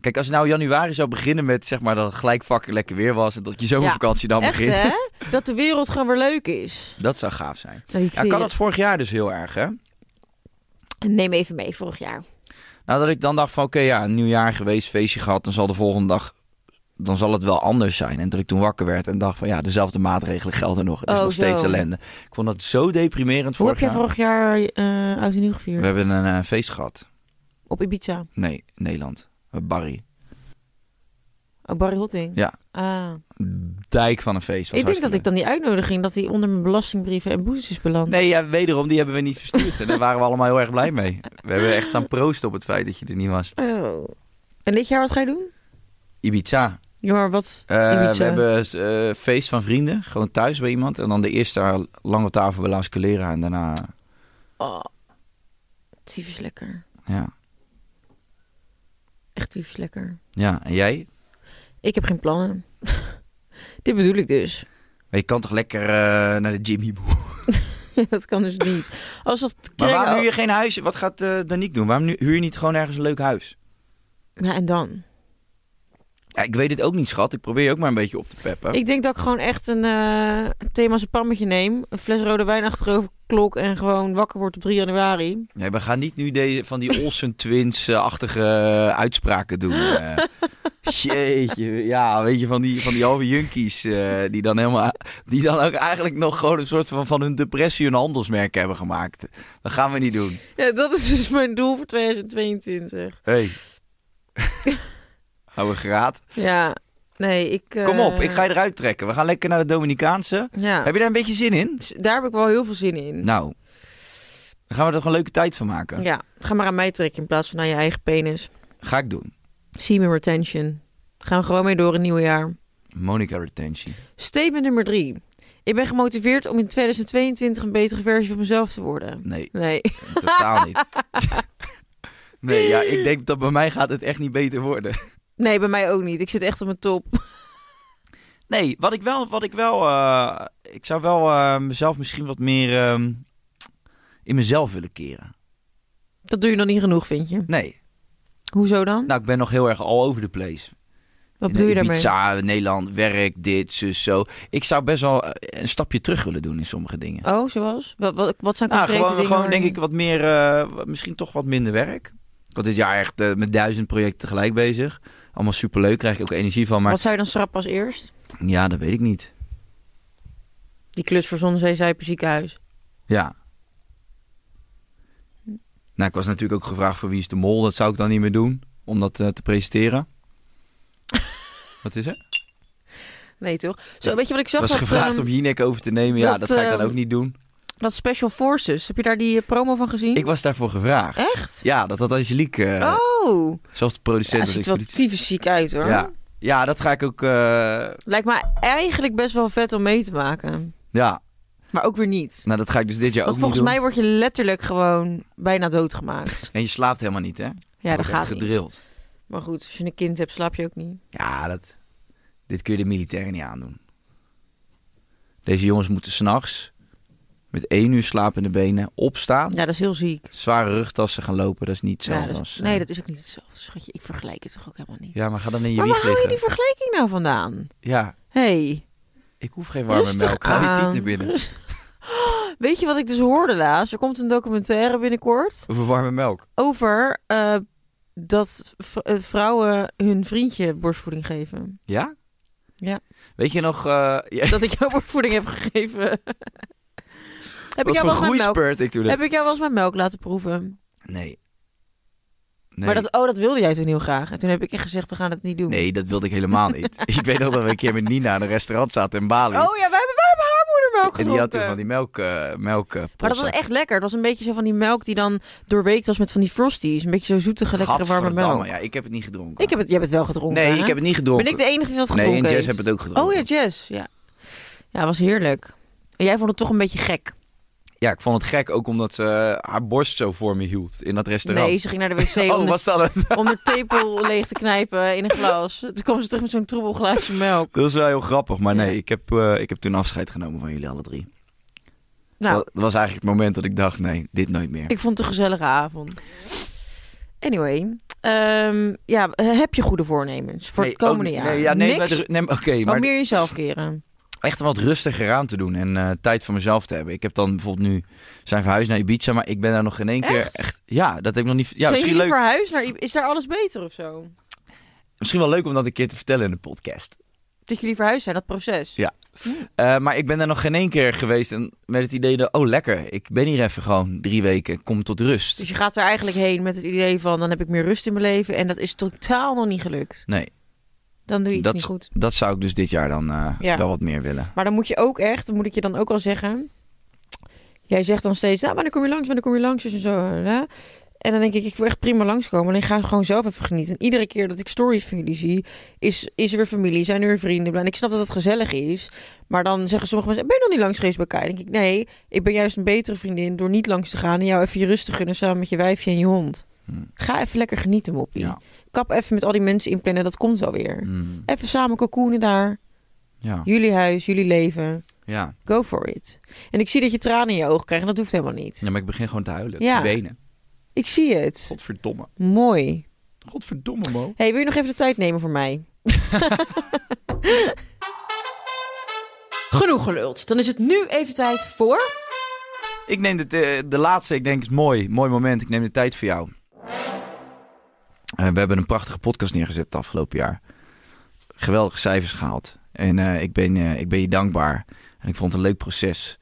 Speaker 5: Kijk, als nou januari zou beginnen met zeg maar dat het gelijk vakken lekker weer was. En dat je zomervakantie dan
Speaker 6: Echt
Speaker 5: begint.
Speaker 6: hè? Dat de wereld gewoon weer leuk is.
Speaker 5: Dat zou gaaf zijn.
Speaker 6: Nou, die
Speaker 5: Ja,
Speaker 6: zie
Speaker 5: ik had
Speaker 6: je.
Speaker 5: dat vorig jaar dus heel erg, hè?
Speaker 6: Neem even mee vorig jaar.
Speaker 5: Nou, dat ik dan dacht van, oké, ja, een nieuw jaar geweest, feestje gehad, dan zal de volgende dag, dan zal het wel anders zijn. En dat ik toen wakker werd en dacht van, ja, dezelfde maatregelen gelden nog. Het is
Speaker 6: Oh,
Speaker 5: nog steeds
Speaker 6: zo.
Speaker 5: ellende. Ik vond dat zo deprimerend
Speaker 6: Hoe
Speaker 5: vorig
Speaker 6: heb jij
Speaker 5: jaar.
Speaker 6: vorig jaar eh Oud en Nieuw gevierd?
Speaker 5: We hebben een eh, feest gehad.
Speaker 6: Op Ibiza.
Speaker 5: Nee, Nederland. Met Barry.
Speaker 6: Oh, Barry Hotting.
Speaker 5: Ja.
Speaker 6: Ah.
Speaker 5: Dijk van een feest. Was
Speaker 6: Ik denk dat ik dan die uitnodiging, dat die onder mijn belastingbrieven en boetes is beland.
Speaker 5: Nee, ja, wederom, die hebben we niet verstuurd. En daar waren we allemaal heel erg blij mee. We hebben echt staan proosten op het feit dat je er niet was.
Speaker 6: Oh. En dit jaar wat ga je doen?
Speaker 5: Ibiza.
Speaker 6: Ja, maar wat?
Speaker 5: Eh,
Speaker 6: Ibiza.
Speaker 5: we hebben eh, feest van vrienden, gewoon thuis bij iemand. En dan de eerste daar lang op tafel bij Las Calera en daarna...
Speaker 6: Oh. Tyfus lekker.
Speaker 5: Ja.
Speaker 6: Echt tyfus lekker.
Speaker 5: Ja, en jij?
Speaker 6: Ik heb geen plannen. <laughs> dit bedoel ik dus. <laughs>
Speaker 5: Maar je kan toch lekker eh, naar de Jimmy Boer?
Speaker 6: dat kan dus niet. Als dat
Speaker 5: Maar waarom
Speaker 6: kringen-
Speaker 5: huur je geen huis? Wat gaat eh Danique doen? Waarom nu- huur je niet gewoon ergens een leuk huis?
Speaker 6: Ja, en dan?
Speaker 5: Ja, ik weet het ook niet, schat. Ik probeer je ook maar een beetje op te peppen.
Speaker 6: Ik denk dat ik gewoon echt een eh thema's een pammetje neem. Een fles rode wijn achterover klok en gewoon wakker wordt op 3 januari.
Speaker 5: Nee, we gaan niet nu deze, van die Olsen Twins-achtige eh, uitspraken doen. eh. jeetje, ja, weet je, van die, van die halve junkies eh, die dan helemaal, die dan ook eigenlijk nog gewoon een soort van, van hun depressie een handelsmerk hebben gemaakt. Dat gaan we niet doen.
Speaker 6: Ja, dat is dus mijn doel voor 2022.
Speaker 5: Hé. Hey. Hou een graad.
Speaker 6: Ja, nee, ik... eh,
Speaker 5: Kom op, ik ga je eruit trekken. We gaan lekker naar de Dominicaanse.
Speaker 6: Ja,
Speaker 5: Heb je daar een beetje zin in?
Speaker 6: Dus daar heb ik wel heel veel zin in.
Speaker 5: Nou, dan gaan we er gewoon een leuke tijd van maken.
Speaker 6: Ja, ga maar aan mij trekken in plaats van aan je eigen penis.
Speaker 5: Ga ik doen.
Speaker 6: Semen retention. Gaan we gewoon mee door in het nieuwe jaar.
Speaker 5: Monica retentie.
Speaker 6: Statement nummer drie. Ik ben gemotiveerd om in 2022 een betere versie van mezelf te worden.
Speaker 5: Nee,
Speaker 6: Nee. <laughs>
Speaker 5: totaal niet. <laughs> Nee, ja, ik denk dat bij mij gaat het echt niet beter worden. <laughs>
Speaker 6: Nee, bij mij ook niet. Ik zit echt op mijn top. <laughs>
Speaker 5: Nee, wat ik wel, wat ik wel, eh, ik zou wel eh, mezelf misschien wat meer ehm, in mezelf willen keren.
Speaker 6: Dat doe je nog niet genoeg, vind je?
Speaker 5: Nee,
Speaker 6: Hoezo dan?
Speaker 5: nou, ik ben nog heel erg all over the place.
Speaker 6: Wat
Speaker 5: In
Speaker 6: bedoel je daarmee?
Speaker 5: Ibiza, Nederland, werk, dit, zus, zo. Ik zou best wel eh, een stapje terug willen doen in sommige dingen.
Speaker 6: Oh, zoals? Wat, wat, wat zijn
Speaker 5: nou,
Speaker 6: Oh, concrete
Speaker 5: gewoon,
Speaker 6: dingen?
Speaker 5: gewoon
Speaker 6: waar-
Speaker 5: denk ik wat meer, eh, wat- misschien toch wat minder werk. Want dit jaar echt eh, met duizend projecten tegelijk bezig. Allemaal superleuk, krijg ik ook energie van. Maar
Speaker 6: Wat zou je dan schrappen als eerst?
Speaker 5: ja, dat weet ik niet.
Speaker 6: Die klus voor Zonnezeezuipen ziekenhuis.
Speaker 5: Ja. Nou, ik was natuurlijk ook gevraagd voor wie is de mol. Dat zou ik dan niet meer doen, om dat eh, te
Speaker 6: <laughs>
Speaker 5: presenteren. Wat is er?
Speaker 6: Nee, toch? Zo, weet je wat ik zag?
Speaker 5: was
Speaker 6: dat,
Speaker 5: gevraagd
Speaker 6: ehm,
Speaker 5: om Jinek over te nemen. Ja, dat,
Speaker 6: dat,
Speaker 5: ga ik dan
Speaker 6: ehm,
Speaker 5: ook niet doen.
Speaker 6: dat Special Forces. Heb je daar die eh, promo van gezien?
Speaker 5: Ik was daarvoor gevraagd.
Speaker 6: Echt?
Speaker 5: Ja, dat had Angelique, eh,
Speaker 6: Oh!
Speaker 5: zelfs de
Speaker 6: Ja,
Speaker 5: producent.
Speaker 6: hij
Speaker 5: was
Speaker 6: ziet
Speaker 5: ik
Speaker 6: er wel
Speaker 5: politie-
Speaker 6: tyfus ziek uit, hoor.
Speaker 5: ja. ja, dat ga ik ook... eh,
Speaker 6: Lijkt me eigenlijk best wel vet om mee te maken.
Speaker 5: ja,
Speaker 6: Maar ook weer niet.
Speaker 5: nou dat ga ik dus dit jaar
Speaker 6: Want
Speaker 5: ook niet
Speaker 6: volgens
Speaker 5: doen.
Speaker 6: mij word je letterlijk gewoon bijna doodgemaakt.
Speaker 5: En je slaapt helemaal niet, hè? Je
Speaker 6: Ja, dat
Speaker 5: wordt
Speaker 6: gaat
Speaker 5: echt
Speaker 6: niet.
Speaker 5: gedrild.
Speaker 6: Maar goed, als je een kind hebt, slaap je ook niet.
Speaker 5: Ja, dat... dit kun je de militairen niet aandoen. Deze jongens moeten s'nachts met één uur slaap in de benen opstaan.
Speaker 6: Ja, dat is heel ziek.
Speaker 5: Zware rugtassen gaan lopen, dat is niet
Speaker 6: Ja,
Speaker 5: hetzelfde
Speaker 6: dat is-
Speaker 5: als... eh,
Speaker 6: nee, dat is ook niet hetzelfde. Schatje, ik vergelijk het toch ook helemaal niet.
Speaker 5: Ja, maar ga dan in je
Speaker 6: maar waar
Speaker 5: wieg
Speaker 6: hou je
Speaker 5: liggen.
Speaker 6: die vergelijking nou vandaan?
Speaker 5: Ja,
Speaker 6: hey,
Speaker 5: ik hoef geen warme
Speaker 6: rustig
Speaker 5: melk. Ga die tiet
Speaker 6: aan.
Speaker 5: naar binnen.
Speaker 6: Rust- <laughs> Weet je wat ik dus hoorde laatst? Er komt een documentaire binnenkort
Speaker 5: Over warme melk.
Speaker 6: over eh, dat v- eh, vrouwen hun vriendje borstvoeding
Speaker 5: <laughs>
Speaker 6: geven.
Speaker 5: Ja?
Speaker 6: Ja.
Speaker 5: Weet je nog... eh, ja,
Speaker 6: Dat ik jou borstvoeding heb gegeven. heb,
Speaker 5: wat
Speaker 6: ik jou
Speaker 5: voor
Speaker 6: wel eens met melk,
Speaker 5: groeispurt ik toen heb?
Speaker 6: heb ik jou wel eens mijn melk laten proeven?
Speaker 5: Nee. Nee.
Speaker 6: Maar dat, oh, dat wilde jij toen heel graag. En toen heb ik echt gezegd, we gaan het niet doen.
Speaker 5: nee, dat wilde ik helemaal
Speaker 6: <laughs>
Speaker 5: niet. ik weet nog dat we een keer met Nina in een restaurant zaten in Bali.
Speaker 6: Oh ja, wij hebben, wij hebben haar moedermelk
Speaker 5: en
Speaker 6: gedronken.
Speaker 5: die had toen van die melk... eh melk eh,
Speaker 6: Maar dat was
Speaker 5: potten.
Speaker 6: echt lekker. Het was een beetje zo van die melk die dan doorweekt was met van die frosties. Een beetje zo zoetige, lekkere, warme
Speaker 5: Gadverdamme,
Speaker 6: melk.
Speaker 5: Ja, ik heb het niet gedronken.
Speaker 6: Ik heb het, jij hebt het wel gedronken,
Speaker 5: Nee,
Speaker 6: hè?
Speaker 5: ik heb het niet gedronken.
Speaker 6: Ben ik de enige die dat
Speaker 5: Nee,
Speaker 6: gedronken
Speaker 5: en Jess
Speaker 6: heeft?
Speaker 5: heb het ook gedronken.
Speaker 6: Oh ja, Jess. Ja, ja was heerlijk. En jij vond het toch een beetje gek.
Speaker 5: Ja, ik vond het gek ook omdat ze eh, haar borst zo voor me hield in dat restaurant.
Speaker 6: Nee, ze ging naar de wc om,
Speaker 5: <laughs> oh,
Speaker 6: de,
Speaker 5: was dat het?
Speaker 6: <laughs> om de tepel leeg te knijpen in een glas. Toen kwam ze terug met zo'n troebel glaasje melk.
Speaker 5: Dat is wel heel grappig. Maar nee,
Speaker 6: Ja.
Speaker 5: ik heb, eh, ik heb toen afscheid genomen van jullie alle drie.
Speaker 6: Nou,
Speaker 5: Dat, dat was eigenlijk het moment dat ik dacht, nee, dit nooit meer.
Speaker 6: Ik vond het een gezellige avond. Anyway, ehm, ja, heb je goede voornemens voor
Speaker 5: Nee,
Speaker 6: het komende
Speaker 5: ook-
Speaker 6: jaar?
Speaker 5: Nee, ja, nee,
Speaker 6: Niks?
Speaker 5: maar de- nee, maar oké,
Speaker 6: Oh,
Speaker 5: maar
Speaker 6: meer jezelf keren.
Speaker 5: echt wat rustiger aan te doen en eh, tijd voor mezelf te hebben. Ik heb dan bijvoorbeeld nu zijn verhuisd naar Ibiza, maar ik ben daar nog geen één keer
Speaker 6: Echt?
Speaker 5: echt. Ja, dat heb ik nog niet. Ja,
Speaker 6: Zijn
Speaker 5: misschien
Speaker 6: jullie
Speaker 5: leuk.
Speaker 6: verhuisd naar I- Is daar alles beter of zo?
Speaker 5: Misschien wel leuk om dat een keer te vertellen in de podcast.
Speaker 6: Dat jullie verhuisd zijn, dat proces.
Speaker 5: Ja.
Speaker 6: Hmm.
Speaker 5: Eh, maar ik ben daar nog geen één keer geweest en met het idee dat oh lekker, ik ben hier even gewoon drie weken, kom tot rust.
Speaker 6: Dus je gaat er eigenlijk heen met het idee van dan heb ik meer rust in mijn leven en dat is totaal nog niet gelukt.
Speaker 5: Nee,
Speaker 6: Dan doe je iets
Speaker 5: dat,
Speaker 6: niet goed.
Speaker 5: dat zou ik dus dit jaar dan eh,
Speaker 6: Ja.
Speaker 5: wel wat meer willen.
Speaker 6: Maar dan moet je ook echt, dat moet ik je dan ook al zeggen. Jij zegt dan steeds, nou, maar dan kom je langs, maar dan kom je langs dus en zo. hè. En dan denk ik, ik wil echt prima langskomen. Alleen ga gewoon zelf even genieten. En iedere keer dat ik stories van jullie zie, is, is er weer familie, zijn er weer vrienden. En ik snap dat het gezellig is. Maar dan zeggen sommige mensen, ben je nog niet langs geweest bij Kai? Dan denk ik, nee, ik ben juist een betere vriendin door niet langs te gaan. En jou even je rust te gunnen samen met je wijfje en je hond. Ga even lekker genieten, moppie.
Speaker 5: Hmm. Ja.
Speaker 6: Kap even met al die mensen inplannen, dat komt wel weer.
Speaker 5: Mm,
Speaker 6: Even samen cocoonen daar.
Speaker 5: ja,
Speaker 6: Jullie huis, jullie leven.
Speaker 5: ja.
Speaker 6: Go for it. En ik zie dat je tranen in je ogen krijgt en dat hoeft helemaal niet.
Speaker 5: Ja, maar ik begin gewoon te huilen,
Speaker 6: Ja.
Speaker 5: te wenen.
Speaker 6: Ik zie het.
Speaker 5: Godverdomme.
Speaker 6: Mooi.
Speaker 5: Godverdomme, Mo.
Speaker 6: hey, wil je nog even de tijd nemen voor
Speaker 5: <laughs>
Speaker 6: mij? Genoeg geluld. Dan is het nu even tijd voor...
Speaker 5: Ik neem dit, eh, de laatste, ik denk, is mooi. Mooi moment. Ik neem de tijd voor jou. Eh, we hebben een prachtige podcast neergezet het afgelopen jaar. Geweldige cijfers gehaald. En eh, ik, ben, eh, ik ben je dankbaar. En ik vond het een leuk proces.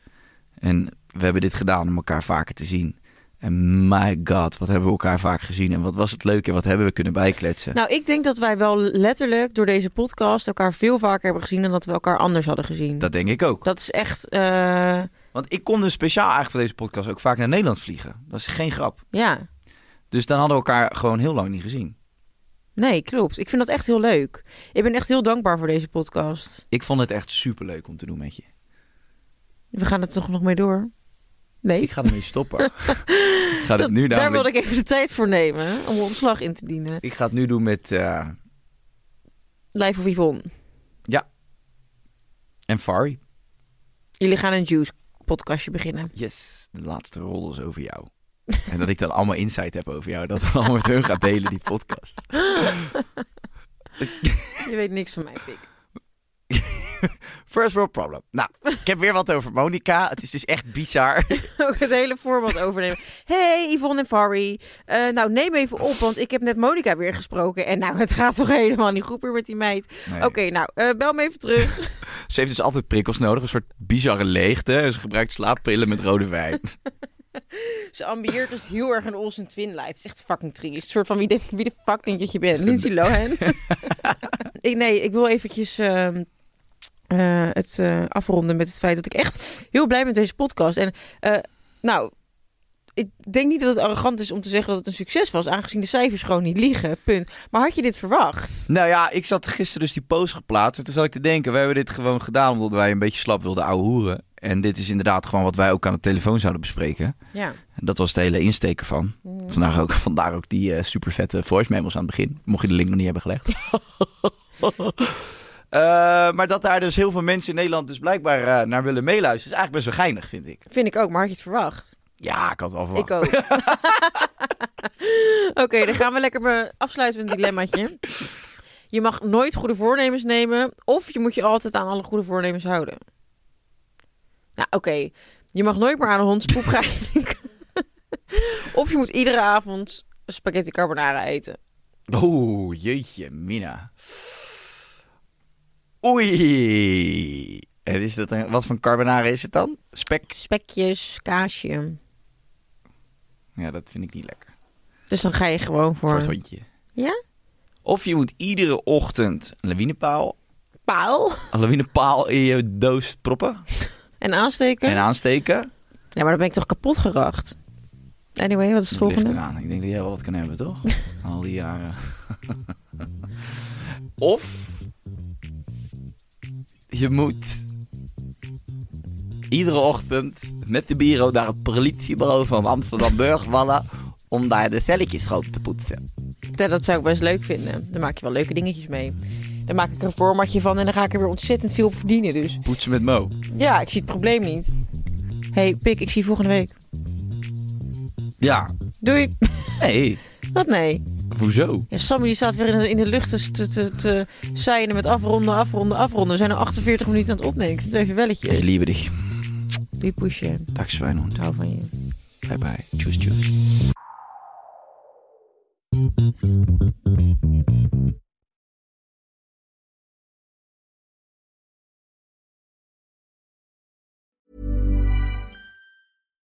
Speaker 5: En we hebben dit gedaan om elkaar vaker te zien. En my god, wat hebben we elkaar vaak gezien. En wat was het leuk en wat hebben we kunnen bijkletsen.
Speaker 6: Nou, ik denk dat wij wel letterlijk door deze podcast elkaar veel vaker hebben gezien dan dat we elkaar anders hadden gezien.
Speaker 5: dat denk ik ook.
Speaker 6: Dat is echt... eh,
Speaker 5: Want ik kon dus speciaal eigenlijk voor deze podcast ook vaak naar Nederland vliegen. Dat is geen grap.
Speaker 6: ja.
Speaker 5: Dus dan hadden we elkaar gewoon heel lang niet gezien.
Speaker 6: Nee, klopt. Ik vind dat echt heel leuk. Ik ben echt heel dankbaar voor deze podcast.
Speaker 5: Ik vond het echt superleuk om te doen met je.
Speaker 6: We gaan er toch nog mee door? Nee?
Speaker 5: Ik ga ermee stoppen. <laughs> ik ga dit
Speaker 6: Dat-
Speaker 5: nu
Speaker 6: Daar
Speaker 5: namelijk...
Speaker 6: wilde ik even de tijd voor nemen om ontslag in te dienen.
Speaker 5: Ik ga het nu doen met... eh,
Speaker 6: Lijf of Yvonne,
Speaker 5: en Fari.
Speaker 6: jullie gaan een Juice podcastje beginnen.
Speaker 5: Yes, de laatste rol is over jou. En dat ik dan allemaal insight heb over jou. Dat ik allemaal met hun ga delen, die podcast.
Speaker 6: Je weet niks van mij, Pik.
Speaker 5: <laughs> First world problem. Nou, ik heb weer wat over Monica. Het is dus echt bizar.
Speaker 6: <laughs> Ook het hele format overnemen. Hey Yvonne en Farry. Eh, nou, neem even op, want ik heb net Monica weer gesproken. En nou, het gaat toch helemaal niet goed meer met die meid.
Speaker 5: Nee.
Speaker 6: Oké, nou, eh, bel me even terug.
Speaker 5: Ze heeft dus altijd prikkels nodig. Een soort bizarre leegte. En Ze gebruikt slaappillen met rode wijn.
Speaker 6: Ze ambieert dus heel erg een Olsen Twin life. Het is echt fucking triest. Een soort van wie de, wie de fuck denk je dat je bent? Lindsay Lohan? <laughs> ik, nee, ik wil eventjes ehm, eh, het eh, afronden met het feit dat ik echt heel blij ben met deze podcast. En eh, nou, ik denk niet dat het arrogant is om te zeggen dat het een succes was, aangezien de cijfers gewoon niet liegen. Punt. Maar had je dit verwacht?
Speaker 5: Nou ja, ik zat gisteren dus die post geplaatst. En toen zat ik te denken, we hebben dit gewoon gedaan omdat wij een beetje slap wilden ouwehoeren. En dit is inderdaad gewoon wat wij ook aan de telefoon zouden bespreken.
Speaker 6: Ja.
Speaker 5: En dat was de hele insteek ervan. Vandaag ook, <laughs> vandaar ook die eh super vette voice memos aan het begin. Mocht je de link nog niet hebben gelegd. Eh, maar dat daar dus heel veel mensen in Nederland dus blijkbaar eh, naar willen meeluisteren, is eigenlijk best wel geinig, vind ik.
Speaker 6: Vind ik ook, maar had je het verwacht?
Speaker 5: Ja, ik had wel verwacht.
Speaker 6: Ik ook. <laughs> Oké, dan gaan we lekker me afsluiten met een dilemmaatje. Je mag nooit goede voornemens nemen, of je moet je altijd aan alle goede voornemens houden. Nou, oké. Je mag nooit meer aan een hondspoep gaan. <laughs> of je moet iedere avond spaghetti carbonara eten.
Speaker 5: Oeh, jeetje, Mina. Oei. En is dat een, wat voor carbonara is het dan? Spek?
Speaker 6: Spekjes, kaasje.
Speaker 5: Ja, dat vind ik niet lekker.
Speaker 6: Dus dan ga je gewoon
Speaker 5: Voor
Speaker 6: voor...
Speaker 5: het hondje.
Speaker 6: Ja?
Speaker 5: Of je moet iedere ochtend een lawinepaal,
Speaker 6: Paal.
Speaker 5: een lawinepaal in je doos proppen
Speaker 6: En aansteken.
Speaker 5: en aansteken.
Speaker 6: Ja, maar dan ben ik toch kapot geracht. Anyway, wat is het
Speaker 5: Dat ligt
Speaker 6: volgende?
Speaker 5: eraan. Ik denk dat jij wel wat kan hebben, <laughs> toch? Al die <laughs> jaren. of je moet iedere ochtend met de bureau naar het politiebureau van Amsterdam-Burg vallen om daar de celletjes schoon te poetsen.
Speaker 6: Ja, dat zou ik best leuk vinden. Daar maak je wel leuke dingetjes mee. Daar maak ik een formatje van en dan ga ik er weer ontzettend veel op verdienen. Dus
Speaker 5: Poetsen met Mo.
Speaker 6: ja, ik zie het probleem niet. hey, Pik, ik zie je volgende week.
Speaker 5: Ja.
Speaker 6: Doei. <laughs>
Speaker 5: Nee,
Speaker 6: Wat nee?
Speaker 5: hoezo?
Speaker 6: Ja, Sammy die staat weer in de, in de lucht te, te, te seinen met afronden, afronden, afronden. We zijn al 48 minuten aan het opnemen. Ik vind het even
Speaker 5: Ik
Speaker 6: welletje.
Speaker 5: liebe dich.
Speaker 6: Doei, poesje.
Speaker 5: Dag, Zwijnhond.
Speaker 6: Ik hou van je.
Speaker 5: Bye bye. Tjus, tjus.